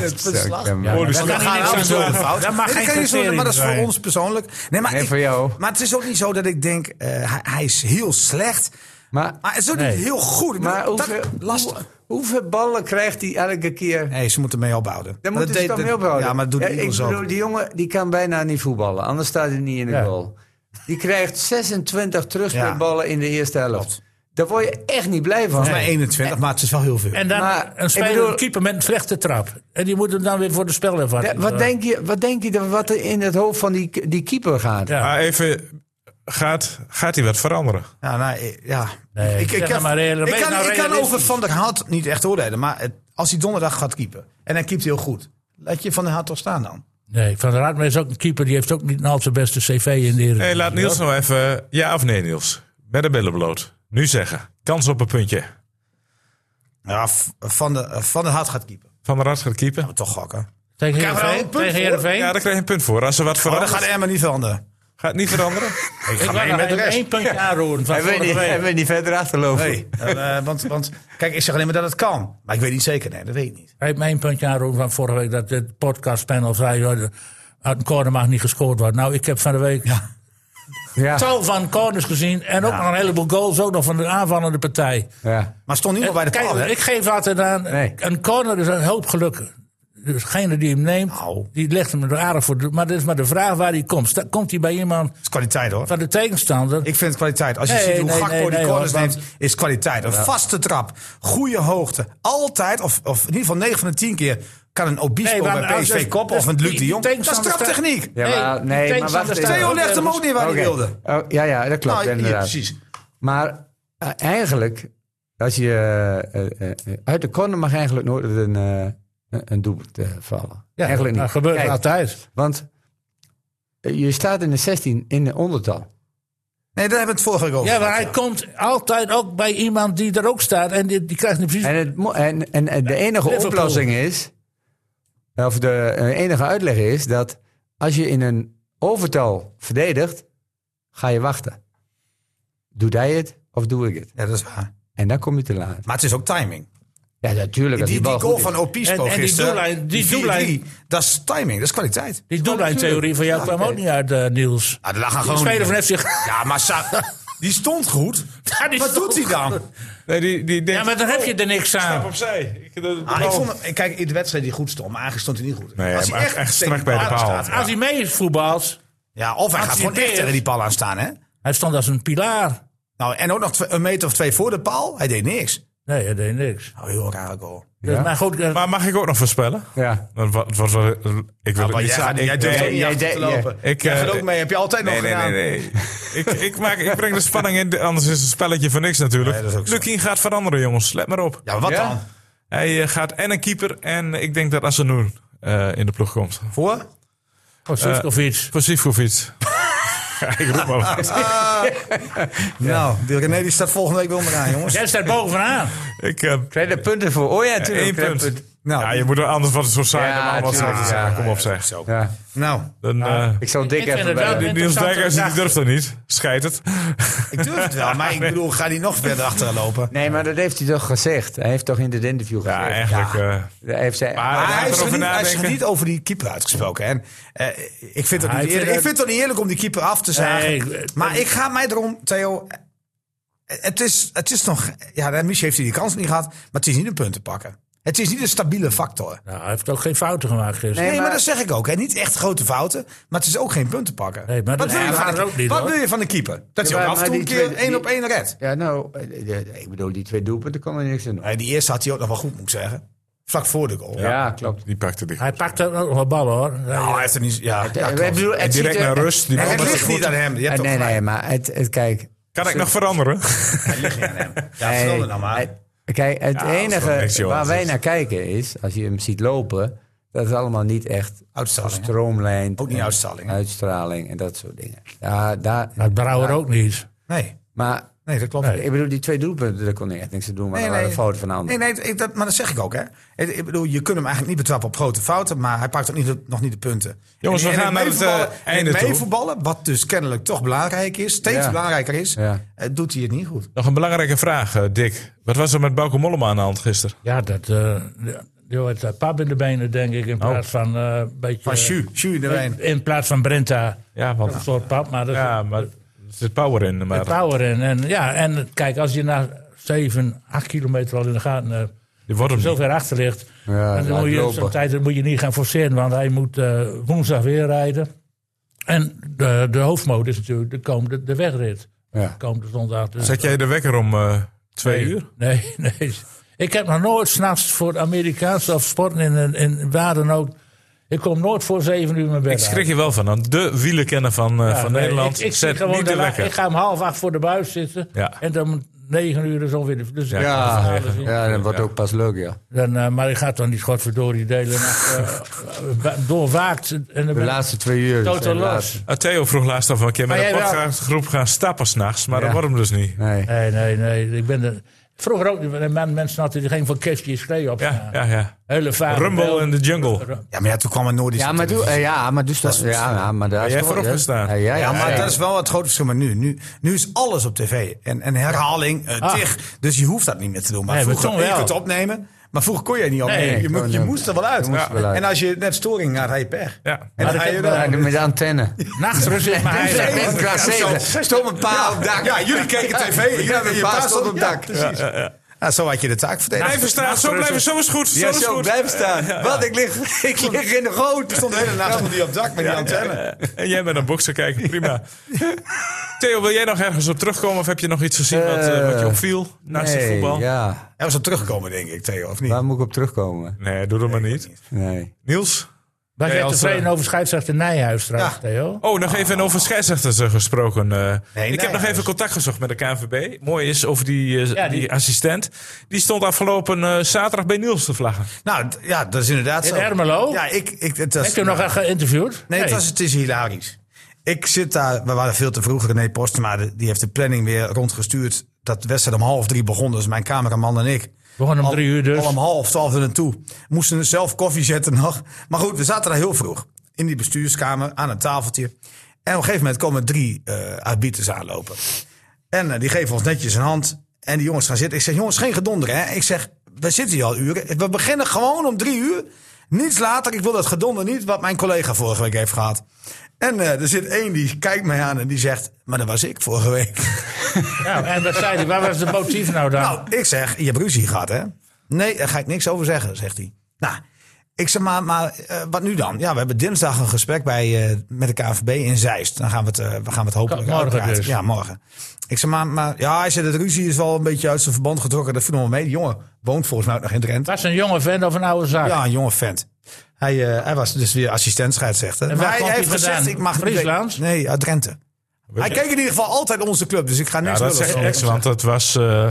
dus
Dat gaan
daar gaan
ouders
we
ook
aan
een
doen.
fout.
Dat mag
Nee,
geen
kan je zo-
criterium
Maar dat is voor
zijn.
ons persoonlijk. Nee, maar,
Nee,
ik-
voor jou.
maar het is ook niet zo dat ik denk, eh, hij, hij is heel slecht.
Maar,
Maar het is ook
Nee.
niet heel goed. Ik
maar
bedoel, dat-
hoeveel,
lastig.
hoeveel ballen krijgt hij elke keer?
Nee, ze moeten mee opbouwen.
Daar moeten ze
deed-
toch mee
dat-
ophouden.
Ja, maar dat doet de
ik
Eagles ook.
bedoel, die jongen die kan bijna niet voetballen. Anders staat hij niet in de
Ja.
goal. Die krijgt 26 terugspeelballen in de eerste helft.
Klopt.
Daar word je echt niet blij van.
Volgens mij 21, maar het is wel heel veel.
En dan
Maar,
een speler,
ik bedoel-
een keeper met een slechte trap. En die moet hem dan weer voor de spelervaring.
Ja, wat, denk je, wat denk je dat wat er in het hoofd van die, die keeper gaat?
Ja.
Maar even, gaat, gaat hij wat veranderen?
Ja, nou, ik- ja.
Nee,
ik,
zeg
ik, heb-
maar eerlijk,
ik
wees
kan,
nou
ik kan over
realistisch.
Van der Hart niet echt oordelen. Maar het- als hij donderdag gaat keeper en hij keept heel goed. Laat je Van der Hart toch staan dan?
Nee, Van der Raadmeer is ook een keeper. Die heeft ook niet een al te beste cv in de
Hé,
Eredivisie.
laat Niels nou even, ja of nee Niels, met de billen bloot. Nu zeggen, kans op een puntje.
Ja, v- van, de, van der Hart gaat keeper.
Van der Rad gaat keeper.
Toch gokken.
Tegen
Krijgen we
Heerenveen?
nou een punt
Tegen
voor?
Heerenveen?
Ja, daar krijg je een punt voor. Als er wat
Maar dat
verandert,
Oh, gaat
gaat,
Emma niet veranderen.
het niet veranderen.
[LAUGHS] Ik
Ik
ga
wil
mee
nog
met de
even
rest.
één puntje aanroeren van
Hij weet
vorige
niet,
week.
hij weet niet verder achterlopen.
Nee, eh, eh, want, want kijk, ik zeg alleen maar dat het kan. Maar ik weet niet zeker. Nee, dat weet ik niet.
Hij heeft mij een puntje aanroeren van vorige week. Dat het podcastpanel zei, joh, de- uit een corner mag niet gescoord worden. Nou, ik heb van de week
Ja.
tal van corners gezien. En ook nog een heleboel goals. Ook nog van de aanvallende partij.
Ja.
Maar stond niemand bij de
Eh, Kijk,
paal, hè?
ik geef altijd aan.
Nee.
Een corner is een hoop geluk. Dus degene die hem neemt,
Nou.
die legt hem er aardig voor. de- Maar dat is maar de vraag waar hij komt. Sta- Komt hij bij iemand
Het is kwaliteit, hoor.
van de tegenstander?
Ik vind het kwaliteit. Als je
Nee,
ziet hoe
nee,
Gakpo
nee,
die
nee,
corners
hoor, want-
neemt, is kwaliteit. Een vaste trap, goede hoogte. Altijd, of, of in ieder geval 9 van de 10 keer... kan een Obispo
Nee, maar
bij
als-
PSV koppen
dus
of een Luc
die-
de Jong.
die
Dat is
tegenstander
traptechniek.
Ja, maar, nee, maar wacht
tegenstander
even.
staat-
Theo legt hem ook niet waar
Oké.
hij wilde.
Oh, ja, ja, dat klopt
Nou, ja,
inderdaad.
precies.
Maar eh, eigenlijk, als je, eh, eh, eh, uit de corner mag eigenlijk nooit een, eh, een- een doelpunt eh, vallen.
Ja,
eigenlijk niet.
dat gebeurt
Kijk,
altijd.
Want eh, je staat in de 16 in de ondertal.
Nee, daar hebben we het vorige week over
Ja, maar
gehad,
hij komt altijd ook bij iemand die er ook staat. En die, die krijgt niet precies...
En, het, mo- en, en, en de enige
Liverpool.
oplossing is, of de eh, enige uitleg is, dat als je in een overtal verdedigt, ga je wachten. Doet hij het of doe ik het?
Ja, dat is waar.
En dan kom je te laat.
Maar het is ook timing.
Ja, natuurlijk.
Die,
als
die,
bal
goal
goed is.
van Obispo
En- en die
gisteren,
doellijn- die
4-3,
doellijn-
dat is timing, dat is kwaliteit.
die doellijntheorie van jou kwam ook niet uit, eh, Niels.
Ah, daar gaan
Die
gewoon
speler
niet
van
in.
FC...
Ja, maar
[LAUGHS]
Sa- die stond goed.
Ja, die
Wat
stond
doet hij dan?
Nee, die, die denkt,
Ja, maar dan heb je er niks aan.
stap opzij. Ik, eh, de- de
Ah, ik
bal-
vond hem- kijk, in de wedstrijd die goed stond, maar eigenlijk stond hij niet goed.
Nee,
Als hij
maar echt strak
tegen
bij de
aan
paal.
staat.
Als hij mee voetbalt...
Ja, of hij gaat gewoon echt
Anticipeert.
tegen die paal aan staan, hè?
Hij stond als een pilaar.
Nou, en ook nog twee- een meter of twee voor de paal. Hij deed niks.
Nee, hij deed niks.
Nou, heel raar goal.
Dus, maar goed, eh,
Maar mag ik ook nog voorspellen?
Ja.
Want wat, wat, wat- ik
Ah,
wil
Maar
het niet
jij, gaat-
zeggen.
jij
Ik-
durft
nee,
ook niet
jij
achter te
deed- jij-
lopen.
Ik,
jij
eh,
gaat ook mee, heb je altijd nog gedaan.
ik, [LAUGHS] ik, maak, ik breng de spanning in, anders is het spelletje voor niks natuurlijk.
Nee, dat is ook zo.
Lukien gaat veranderen, jongens. Let maar op.
Ja, maar wat
Ja?
dan?
Hij eh, gaat en een keeper en ik denk dat Asanoer eh in de ploeg komt.
Voor?
voor
eh,
Sivkovic.
Voor Sivkovic. Ja, [LAUGHS] ik roep maar wat.
Nou, die René die staat volgende week wel maar aan, jongens.
Jij
eh,
staat bovenaan.
Ik, eh,
Krijg je er punten voor? Oh ja,
één
natuurlijk. krijg je
punt.
Nou,
ja, je moet er anders wat zo saai
Ja,
normaal wat
tuurlijk,
zeggen. te zeggen.
ja.
Kom op zeg.
Ja,
Nou,
Dan, eh
ik zal dik
Ik vind
even
het wel-
bij.
die Niels
interessante
Dijkhuis die
gedachte.
durft er niet. Schijt het. [LAUGHS]
ik durf het wel, maar ik bedoel, ga die nog verder achteraan lopen.
Nee, maar dat heeft hij toch gezegd? Hij heeft toch in dit interview gezegd?
Ja, eigenlijk. eh
Hij heeft zei,
maar
Maar hij is,
erover
er niet, hij is er
nadenken.
niet over die keeper uitgesproken. En, eh, ik vind het niet
Ja, ik vind
eerlijk, ik
het-
vind het ook niet eerlijk om die keeper af te zagen.
Nee, ik-
maar ik ga mij erom, Theo. eh, Het is, het is nog. Ja, misschien heeft hij die kans niet gehad. Maar het is niet een punt te pakken. Het is niet een stabiele factor.
Nou, hij heeft ook geen fouten gemaakt gisteren.
Nee, maar,
maar-
dat zeg ik ook. Hè. Niet echt grote fouten. Maar het is ook geen punt te pakken.
Nee, maar dat-
wat wil, je,
ja,
van
maar
de,
ook niet,
wat
hoor.
wil je van de keeper? Dat
Ja,
hij ook
maar-
af en toe
maar
een
die
keer
twee-
één
die-
op één redt.
ja, nou, eh, eh, ik bedoel, die twee doelpunten kon er niks aan doen.
Nee, die eerste had hij ook nog wel goed, moet ik zeggen. Vlak voor de goal.
Ja, klopt.
Die pakte die.
Hij pakte ook nog wel ballen hoor.
Nou, hij heeft er niet... Ja, ja,
Ik
klopt.
bedoel, het
En direct
ziet er-
naar rust. Die
het
bal
het
met de
ligt
voet.
niet aan hem. Je hebt
Eh,
toch
nee,
gelijk.
nee, maar het, het, kijk,
Kan ik nog veranderen?
Het ligt niet aan hem. Ja,
Nee.
verdomme nou maar.
Kijk, het
dat is wel niks,
enige
joh.
waar
Dat
wij
is-
naar kijken is, als je hem ziet lopen, dat is allemaal niet echt
Uitstraling, hè?
gestroomlijnd.
Ook niet
en
uitstraling, hè?
Uitstraling en dat soort dingen. Ja, daar,
Maar Brouwer ook niet.
Nee,
maar
nee, dat klopt.
ik bedoel, die twee doelpunten, daar kon hij echt niks aan doen, maar dat waren fouten van de ander.
Nee, nee, ik- dat, maar dat zeg ik ook, hè. Ik, ik bedoel, je kunt hem eigenlijk niet betrappen op grote fouten, maar hij pakt ook niet, de- nog niet de punten.
Jongens,
En-
we
en
gaan naar het, eh,
meevoetballen- en
einde toe.
meevoetballen, wat dus kennelijk toch belangrijk is, steeds
Ja.
belangrijker is,
Ja.
eh, doet hij het niet goed.
Nog een belangrijke vraag, eh, Dick. Wat was er met Bauke Mollema aan de hand gisteren?
Ja, dat. eh die had eh, pap in de benen, denk ik. In
Oh.
plaats van. eh, een beetje,
Van Schu, Schu in de
eh, in,
wijn.
in plaats van Brenta.
Ja,
Een
want...
soort pap, maar dat is
Ja, maar er zit power in.
met
Maar
power in. En, ja, en kijk, als je na 7, 8 kilometer al in de gaten. eh,
die wordt hem
zo
niet.
ver achter ligt.
Ja,
en dan
laat
moet je
lopen.
zo'n tijd dat moet je niet gaan forceren, want hij moet eh, woensdag weer rijden. En de, de hoofdmoot is natuurlijk de komende de wegrit.
Ja.
Komende zondag. Dus
Zet jij de wekker om eh, twee
nee,
uur?
Nee, [LAUGHS] nee. Ik heb nog nooit s'nachts voor Amerikaanse of sporten in, in, in waar dan ook. Ik kom nooit voor zeven uur mijn bed
Ik schrik je wel van. want De wielenkenner van, eh,
uit.
van
Ja, nee,
Nederland
Ik, ik, zit
zet
gewoon
niet de
de la-
wekker.
ik ga om half acht voor de buis zitten.
Ja.
En dan om negen uur is ongeveer. de- Dus
Ja.
ik ga
Ja,
het finale zien.
ja, dat wordt ook pas leuk, ja.
Dan, eh, maar ik ga dan niet godverdorie delen. eh,
[LAUGHS]
doorwaakt. En dan
De
ben ik
laatste twee uur.
totaal
zijn de
los.
laatste.
Ah, Theo vroeg laatst of we een keer met
Maar
een
jij wel.
podcastgroep gaan stappen s'nachts. Maar dat
Ja.
wordt hem dus niet.
Nee.
Nee, nee, nee. Ik ben er, vroeger ook. niet, want men- Mensen hadden die geen van Kestie schreeuwen op.
Ja, ja, ja.
Hele vaak.
Rumble in the jungle.
Ja, maar ja, toen kwam een Noordische
Ja, maar, doe, eh, ja, maar dus dat, ja, ja, maar daar
jij
toch-
voorop
ja.
gestaan?
Ja, ja,
Ja, maar
ja.
dat is wel het grote verschil met nu. Nu, nu is alles op tv. En, en herhaling, eh,
Ah.
tig. Dus je hoeft dat niet meer te doen. Maar
Nee, maar
vroeger
toen
je
wel.
kunt het opnemen. Maar vroeger kon je het niet opnemen.
Nee,
je, mo- je
kon-
moest er wel uit.
moest er wel uit.
En als je net storing had, had je pech.
Ja.
En dan ga je dan-
Ja, met de antenne.
Nachtrust is maar
Ja,
heilig.
ben qua zeven. Stom een paal op het dak.
Ja, jullie keken tv.
Ja,
jullie hebben
je
je
paas
paas
stond
op het dak. precies. Nou, zo had je de taak verdedigd. Nou,
Blijven staan, zo blijven, zo is goed. Zo
Ja,
is
zo,
goed.
blijf staan. Wat, ik lig, [LAUGHS] ik lig in de goot.
Er stond de hele nacht stond die op het dak met die antenne.
En jij bent een bokser kijken, prima. Theo, wil jij nog ergens op terugkomen? Of heb je nog iets gezien wat, eh, wat je
Eh,
opviel naast het voetbal?
ja.
Er was op teruggekomen, denk ik, Theo, of niet?
Waar moet ik op terugkomen?
Nee, doe dat maar niet.
Nee.
Niels?
Wij
Nee,
zijn
als,
tevreden
eh,
over scheidsrechter Nijhuis trouwens,
Ja.
Theo.
Oh, nog even over scheidsrechters eh, gesproken. eh. ik heb nog
Nijhuis.
even contact gezocht met de KNVB. Mooi is over die, eh,
Ja,
die...
die-
assistent. Die stond afgelopen eh, zaterdag bij Niels te vlaggen.
Nou, d- ja, dat is inderdaad
In
zo.
Ermelo?
Ja, ik... ik het was,
Heb je hem nog echt geïnterviewd?
Nee, het, was, het is hilarisch. Ik zit daar, we waren veel te vroeg. René Postema, de- die heeft de planning weer rondgestuurd. Dat de wedstrijd om half drie begon, dus mijn cameraman en ik.
Begon om
Al-
drie uur dus.
Al om half twaalf er naartoe. Moesten zelf koffie zetten nog. Maar goed, we zaten daar heel vroeg. In die bestuurskamer, aan een tafeltje. En op een gegeven moment komen drie eh arbiters aanlopen. En eh, die geven ons netjes een hand. En die jongens gaan zitten. Ik zeg, jongens, geen gedonder. Hè? Ik zeg, we zitten hier al uren. We beginnen gewoon om drie uur. Niets later. Ik wil dat gedonder niet wat mijn collega vorige week heeft gehad. En eh, er zit één die kijkt mij aan en die zegt... maar dat was ik vorige week.
Nou, en dat zei hij. Waar was het motief nou dan?
Nou, ik zeg, je hebt ruzie gehad, hè? Nee, daar ga ik niks over zeggen, zegt hij. Nou, ik zeg, maar, maar eh, wat nu dan? Ja, we hebben dinsdag een gesprek bij, eh, met de KNVB in Zeist. Dan gaan we het, eh, we gaan het hopelijk
Morgen
uitpraten.
dus.
Ja, morgen. Ik zeg, maar, maar ja, hij zegt, het ruzie is wel een beetje uit zijn verband getrokken. Dat viel nog wel mee. Die jongen woont volgens mij ook nog in Drenthe.
Was een jonge vent of een oude zaak?
Ja, een jonge vent. Hij, eh, hij was dus weer assistent scheidsrechter.
En waar
Maar hij,
komt
hij
hij
heeft gezegd,
vandaan?
ik mag niet-
Friesland?
Nee, uit Drenthe. Hij keek in ieder geval altijd onze club, dus ik ga
Ja,
niks
dat
lulligs
zegt
over
niks,
hem
want dat was... eh,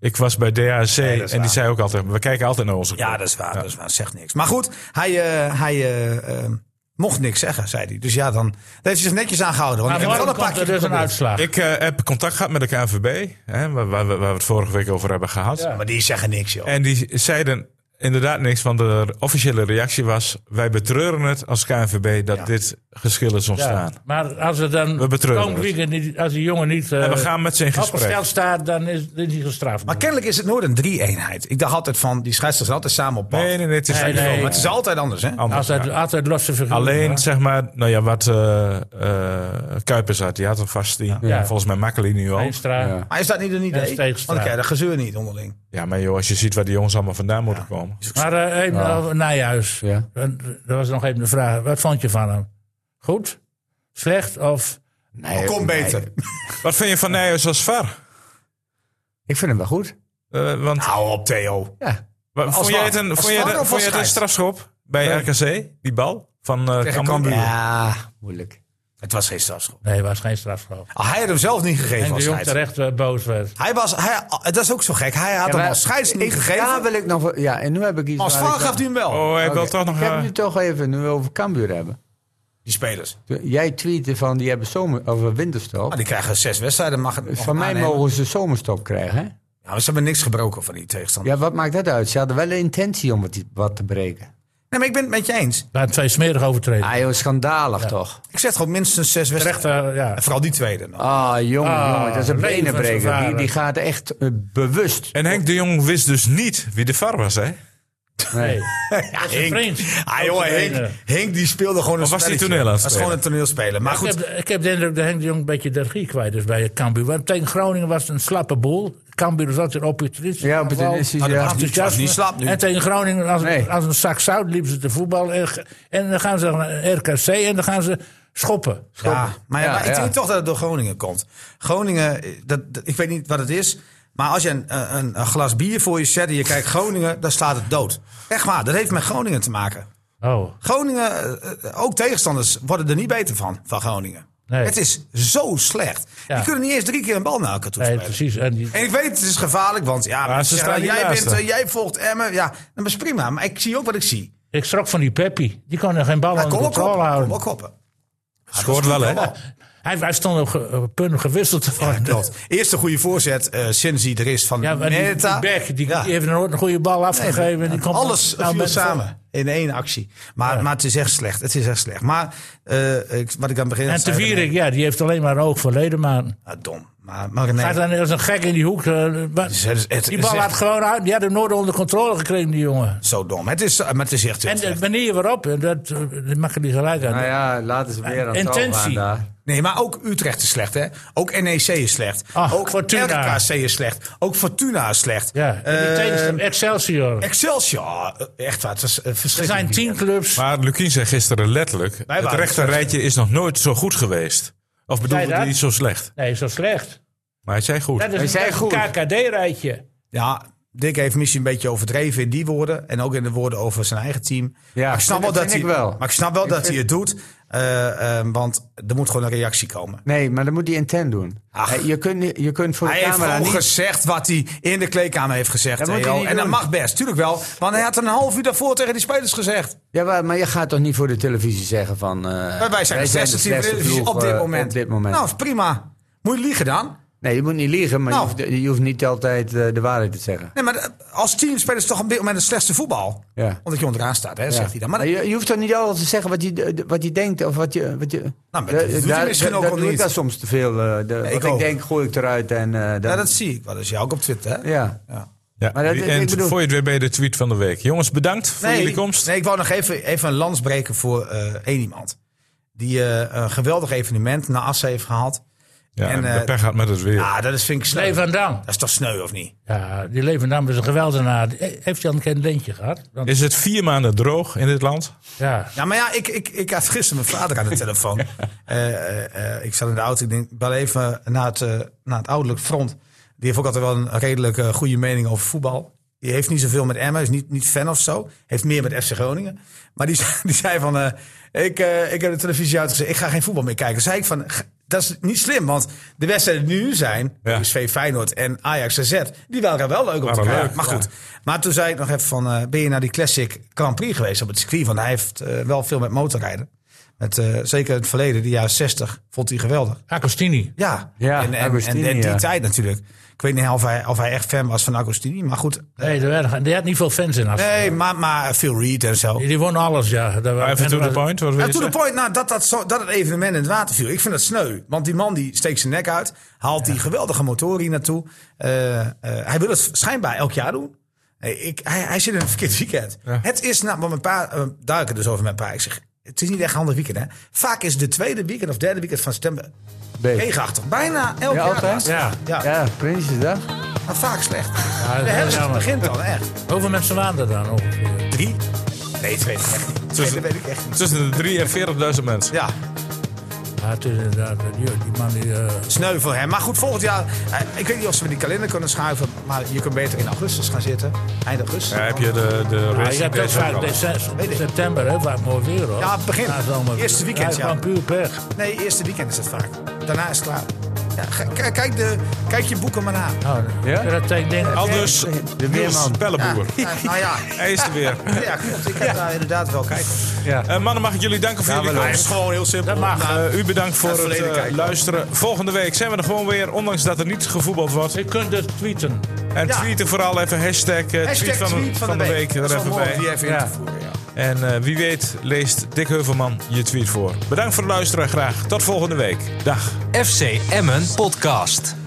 ik was bij DHC
Nee, dat
en
is
die
waar.
zei ook altijd... We kijken altijd naar onze
Ja,
club.
dat is waar. Dat is waar. Zegt niks. Maar goed, hij, eh, hij eh, eh, mocht niks zeggen, zei hij. Dus ja, dan daar heeft hij zich netjes aan gehouden. Want
Maar
ik heb wel
morgen
een paar
komt
keer
er dus een
geprobeerd.
uitslag.
Ik eh, heb contact gehad met de KNVB, hè, waar, waar, we- waar we het vorige week over hebben gehad.
Ja.
Maar die zeggen niks, joh.
En die zeiden inderdaad niks, want de officiële reactie was... wij betreuren het als KNVB dat dit geschil is
Ja,
ontstaan.
Maar als er dan
We betreuren
komend
het.
weekend niet, als die jongen niet eh,
En we gaan met ze in gesprek.
opgesteld staat, dan is, is hij gestraft.
maar kennelijk is het nooit een drie-eenheid. Ik dacht altijd van, die scheidsrechters zijn altijd samen op pad.
Nee, nee, nee, het is
Nee,
niet
nee.
zo,
Maar
maar
het
het
is altijd anders, hè?
is anders,
Als uit,
ja.
altijd losse figuren.
Alleen
hè?
zeg maar, nou ja, wat eh eh, Kuipers had, die had een vast team. Ja.
Ja.
Volgens mij Makkeli nu al.
Veenstra.
Ja.
Maar is dat niet een
Dat
idee?
is
Want dan
tegenstraat.
krijg je dat gezeur niet onderling.
Ja, maar joh, als je ziet waar die jongens allemaal vandaan moeten komen.
Maar eh even over Nijhuis.
Ja.
En Dat was nog even de vraag. Wat vond je van hem? Goed? Slecht? Of
Nee,
Kom
nee.
beter.
Wat vind je van Nijhuis als VAR?
Ik vind hem wel goed.
Eh, want
Hou op, Theo.
Ja.
Wa- Vond jij het een,
Als
vond jij
Nou, VAR
het-
of
vond
als
jij het een
scheids?
strafschop bij RKC? Die bal van eh
Tegen
Cambuur?
Cambuur.
Ja, moeilijk.
Het was geen strafschop.
Nee, was geen strafschop.
Ah, hij had hem zelf niet gegeven
En de
als
jong
scheids.
terecht eh, boos werd.
Hij was, hij, dat is ook zo gek. Hij had
Ja,
hem
maar
als scheids niet gegeven.
Daar wil ik nog... wel- Ja, en nu heb ik iets...
als
waar
VAR
ik-
gaf hij hem wel.
Oh, ik wil
Oké,
toch nog...
Ik heb
eh,
nu toch even nu over Cambuur hebben.
Die spelers.
Jij tweette van die hebben zomer, of winterstop.
Maar Ah, die krijgen zes wedstrijden. Mag het nog
Van mij
aannemen.
mogen ze zomerstop krijgen. Hè?
Ja, maar ze hebben niks gebroken van die tegenstander.
Ja, wat maakt dat uit? Ze hadden wel de intentie om het, wat te breken.
Nee, maar ik ben het met je eens.
Na twee smerige overtredingen.
Ah joh, schandalig toch?
Ik zeg gewoon minstens zes
Terecht,
wedstrijden.
eh, ja.
[LAUGHS] En Vooral die tweede. nog.
Ah jongen,
Ah,
jongen, dat is een benenbreker. Die,
levensgevaarlijk.
die gaat echt eh, bewust.
En Henk de Jong wist dus niet wie de VAR was, hè?
Nee. Dat is een
Henk.
vriend.
Ah,
Ook
joh,
een
Henk,
trainer.
Henk die speelde gewoon een
Of was die
spelletje.
toneel aan het
was gewoon een toneelspeler. Maar goed,
Ik heb, ik heb de indruk dat Henk de Jong een beetje de regie kwijt is bij Cambuur. Want tegen Groningen was het een slappe boel. Cambuur was altijd opportunistisch.
Ja, opportunistisch,
aanval,
ja.
Ah, dat was niet- dat was niet slap nu.
En tegen Groningen, als,
Nee.
als een zak zout, liepen ze te voetbal. En, en dan gaan ze naar RKC en dan gaan ze schoppen.
Ja, maar, ja,
Ja,
maar ik
ja.
denk toch dat het door Groningen komt. Groningen, eh, dat, dat- ik weet niet wat het is. Maar als je een, een, een glas bier voor je zet en je kijkt Groningen, dan slaat het dood. Echt waar, dat heeft met Groningen te maken.
Oh,
Groningen, eh, eh, ook tegenstanders worden er niet beter van, van Groningen.
Nee.
Het is zo slecht.
Ja.
Die kunnen niet eens drie keer een bal naar elkaar toe
nee,
spelen.
precies. En die,
En ik weet, het is gevaarlijk, want ja,
Maar ze
mensen
staan
zeggen,
hier
jij,
naast,
bent,
hè?
eh, jij volgt Emmen. Ja, dat is prima, maar ik zie ook wat ik zie.
ik schrok van die Peppi. Die kon er geen bal
Maar
aan de
kom ook
Oh, controle
op,
houden.
kom ook op.
Scoort wel, hè?
Hij, hij stond op ge- op punt gewisseld te worden.
Klopt. Eerste goede voorzet eh sinds hij er is van
Ja, maar die, die
Merita.
Beck, die,
Ja.
die heeft nooit een goede bal afgegeven. en die komt
Alles
nou
viel
met-
samen in één actie. Maar, maar het is echt slecht. Het is echt slecht. Maar eh, ik, wat ik aan het begin
En te
zei,
Wierik, ja, die heeft alleen maar een oog voor Ledemaan.
ah, dom. Maar, maar
Gaat
nee.
dan als een gek in die hoek. eh, maar
is- het is- het
die
is
bal
echt-
had gewoon uit. Die had hem nooit onder controle gekregen, die jongen.
Zo dom. Het is, maar het is echt heel
En de
slecht.
manier waarop, en dat, eh, dat mag ik niet gelijk aan.
Nou ja, laten ze weer aan het touw
Intentie.
gaan daar.
Nee, maar ook Utrecht is slecht, hè? Ook NEC is slecht.
Ach,
ook
Ah, Fortuna.
RKC is slecht. Ook Fortuna is slecht.
ja, en die
Eh,
tegenstander, Excelsior.
Excelsior. eh, Echt waar, het was eh,
Er
verschrikkelijk.
zijn tien clubs.
Maar Lukien zei gisteren letterlijk... het
waren dus-
rechterrijtje is nog nooit zo goed geweest. Of
Zei
bedoelde
dat?
hij zo slecht?
Nee, zo slecht.
Maar hij zei goed.
Dat
We
is,
zijn
dat is een
goed.
KKD-rijtje.
Ja, Dick heeft misschien een beetje overdreven in die woorden. En ook in de woorden over zijn eigen team.
Ja,
maar ik snap
dat
wel dat
vind
hij,
ik wel.
Maar ik snap wel dat
vind-
hij het doet. eh, eh, want er moet gewoon een reactie komen.
Nee, maar dan moet die intent doen.
Ach.
Eh, Je kunt, niet- je kunt voor de
Hij heeft
camera
gewoon
niet...
gezegd wat hij in de kleedkamer heeft gezegd.
Dat
hè,
moet hij
joh.
niet
en dat
doen.
mag best, tuurlijk wel. Want hij had een half uur daarvoor tegen die spelers gezegd.
Ja, maar, maar je gaat toch niet voor de televisie zeggen van... eh,
Wij- wij zijn de
de
slechtste team
slechtste
Eredivisie
ploeg,
op dit
eh,
moment.
Op dit moment.
Nou, is prima. Moet je liegen dan?
Nee, je moet niet liegen, maar
Nou.
je, hoeft, je hoeft niet altijd eh, de waarheid te zeggen.
Nee, maar eh, als team spelen ze toch op dit moment het slechtste voetbal.
Ja.
Omdat je onderaan staat, hè,
Ja.
zegt hij dan. Maar
Maar je, je hoeft toch niet altijd te zeggen wat je, de- de- wat je denkt of wat je... Wat je
Nou, maar dat doet hij misschien ook
dat
wel
doe ik
niet.
dat soms te veel. eh, de- wat
ik
ik,
ook.
denk, gooi ik eruit en... eh, dan-
ja, dat zie ik wel eens. Ja, ook op Twitter. Hè?
ja.
Ja,
maar dat-
die-
ik
en
bedoel-
voor je het weer bij de tweet van de week. Jongens, bedankt voor jullie komst.
Nee, ik wou nog even, even een lans breken voor eh, één iemand. Die eh, een geweldig evenement naar Assen heeft gehad.
ja, en
en,
de
eh,
pech had met het weer.
Ja, dat is, vind ik sneu.
Lee van Dam.
Dat is toch sneu, of niet?
Ja, die Levendam is een geweldenaar. Eh, Heeft hij al een keer een leentje gehad? Want,
Is het vier maanden droog in dit land?
ja.
Ja, maar ja, ik, ik, ik had gisteren mijn vader aan de telefoon. Eh, eh, eh, ik zat in de auto. Ik denk, bel even naar het, eh, naar het ouderlijk front. Die heeft ook altijd wel een redelijk eh, goede mening over voetbal. Die heeft niet zoveel met Emmen, is niet, niet fan of zo. Heeft meer met FC Groningen. Maar die, [LAUGHS] zei- die zei van, eh, ik, eh, ik heb de televisie uitgezet. Ik ga geen voetbal meer kijken. zei ik van, "G- dat is niet slim. Want de wedstrijden die nu zijn,
Ja.
PSV Feyenoord en Ajax AZ... die waren wel leuk om te
Nou,
Waren
kijken.
leuk,
Maar goed, maar toen zei ik nog even van, eh, ben je naar die Classic Grand Prix geweest op het circuit? Want hij heeft eh, wel veel met motorrijden. Met, eh, zeker in het verleden, de jaren 60, vond hij geweldig.
Agostini.
Ja,
Ja,
en, en,
Agostini,
en, en die
ja.
tijd natuurlijk. Ik weet niet of hij, of hij echt fan was van Agostini, maar goed.
Nee, er werden, die had niet veel fans in. Assen.
Nee, maar, maar Phil Reed en zo.
Die, die won alles, ja. Daar wa-
Even
en
to the
er was-
point. Wat wil
Ja,
je
to the
zeggen?
point, nou, dat, dat, zo, dat het evenement in het water viel. Ik vind dat sneu. Want die man die steekt zijn nek uit. Haalt die geweldige motor hier naartoe. Eh, eh, hij wil het schijnbaar elk jaar doen. Eh, Ik, hij, hij zit in een verkeerd weekend. Het is, nou, want mijn pa, eh, daar heb ik het dus over met mijn pa. Ik zeg, het is niet echt een handig weekend. Hè? Vaak is de tweede weekend of derde weekend van september
Beter.
regenachtig. Bijna elk
Ja,
jaar.
altijd?
haast.
Ja.
Ja,
Ja, Prinsjesdag.
maar vaak slecht.
dat
de
is
herfst
jammer.
begint dan, echt.
Hoeveel mensen waren er dan ongeveer?
Drie? Nee, dat weet ik echt niet.
Tussen-
Dat weet ik echt niet.
Tussen de 3 en 40.000 mensen.
Ja,
Ja, het is inderdaad. eh, Die, die man die. eh,
Sneu voor hem. Maar goed, volgend jaar. eh, ik weet niet of ze met die kalender kunnen schuiven. Maar je kunt beter in augustus gaan zitten. Eind augustus.
Ja, heb je de, de
Ja,
race
Ah, je hebt ook
deze
vaak
ook al.
Weet ik.
december, september, hè, vaak mooi weer hoor.
Ja, het begin.
Na zomer.
Eerste weekend, ja.
Gewoon puur pech.
Nee, eerste weekend is het vaak. Daarna is het klaar. Ja, ga- k- kijk, de, kijk je boeken maar na.
Nou,
Ja?
Dat ik denk, oh,
Aldus
De
dus, Niels
weerman.
Belleboer.
Ja, nou
[LAUGHS]
ja,
Hij is er weer.
ja, klopt. Ik heb daar inderdaad wel kijken.
Eh, mannen, mag ik jullie danken voor jullie
Hij
komst?
is gewoon heel simpel.
Dat mag.
Nou,
Eh, u bedankt voor
Naar het
het
verleden
eh,
kijken.
luisteren. Volgende week zijn we er gewoon weer, ondanks dat er niet gevoetbald wordt.
je kunt het tweeten.
En
Ja.
tweeten vooral even hashtag, eh,
Hashtag
tweet van, van de, week,
Dat
er
is wel
even
mooi
bij.
om die even in
Ja.
te voeren. Ja.
En eh, wie weet leest Dick Heuvelman je tweet voor. Bedankt voor het luisteren en graag tot volgende week. Dag.
FC Emmen Podcast.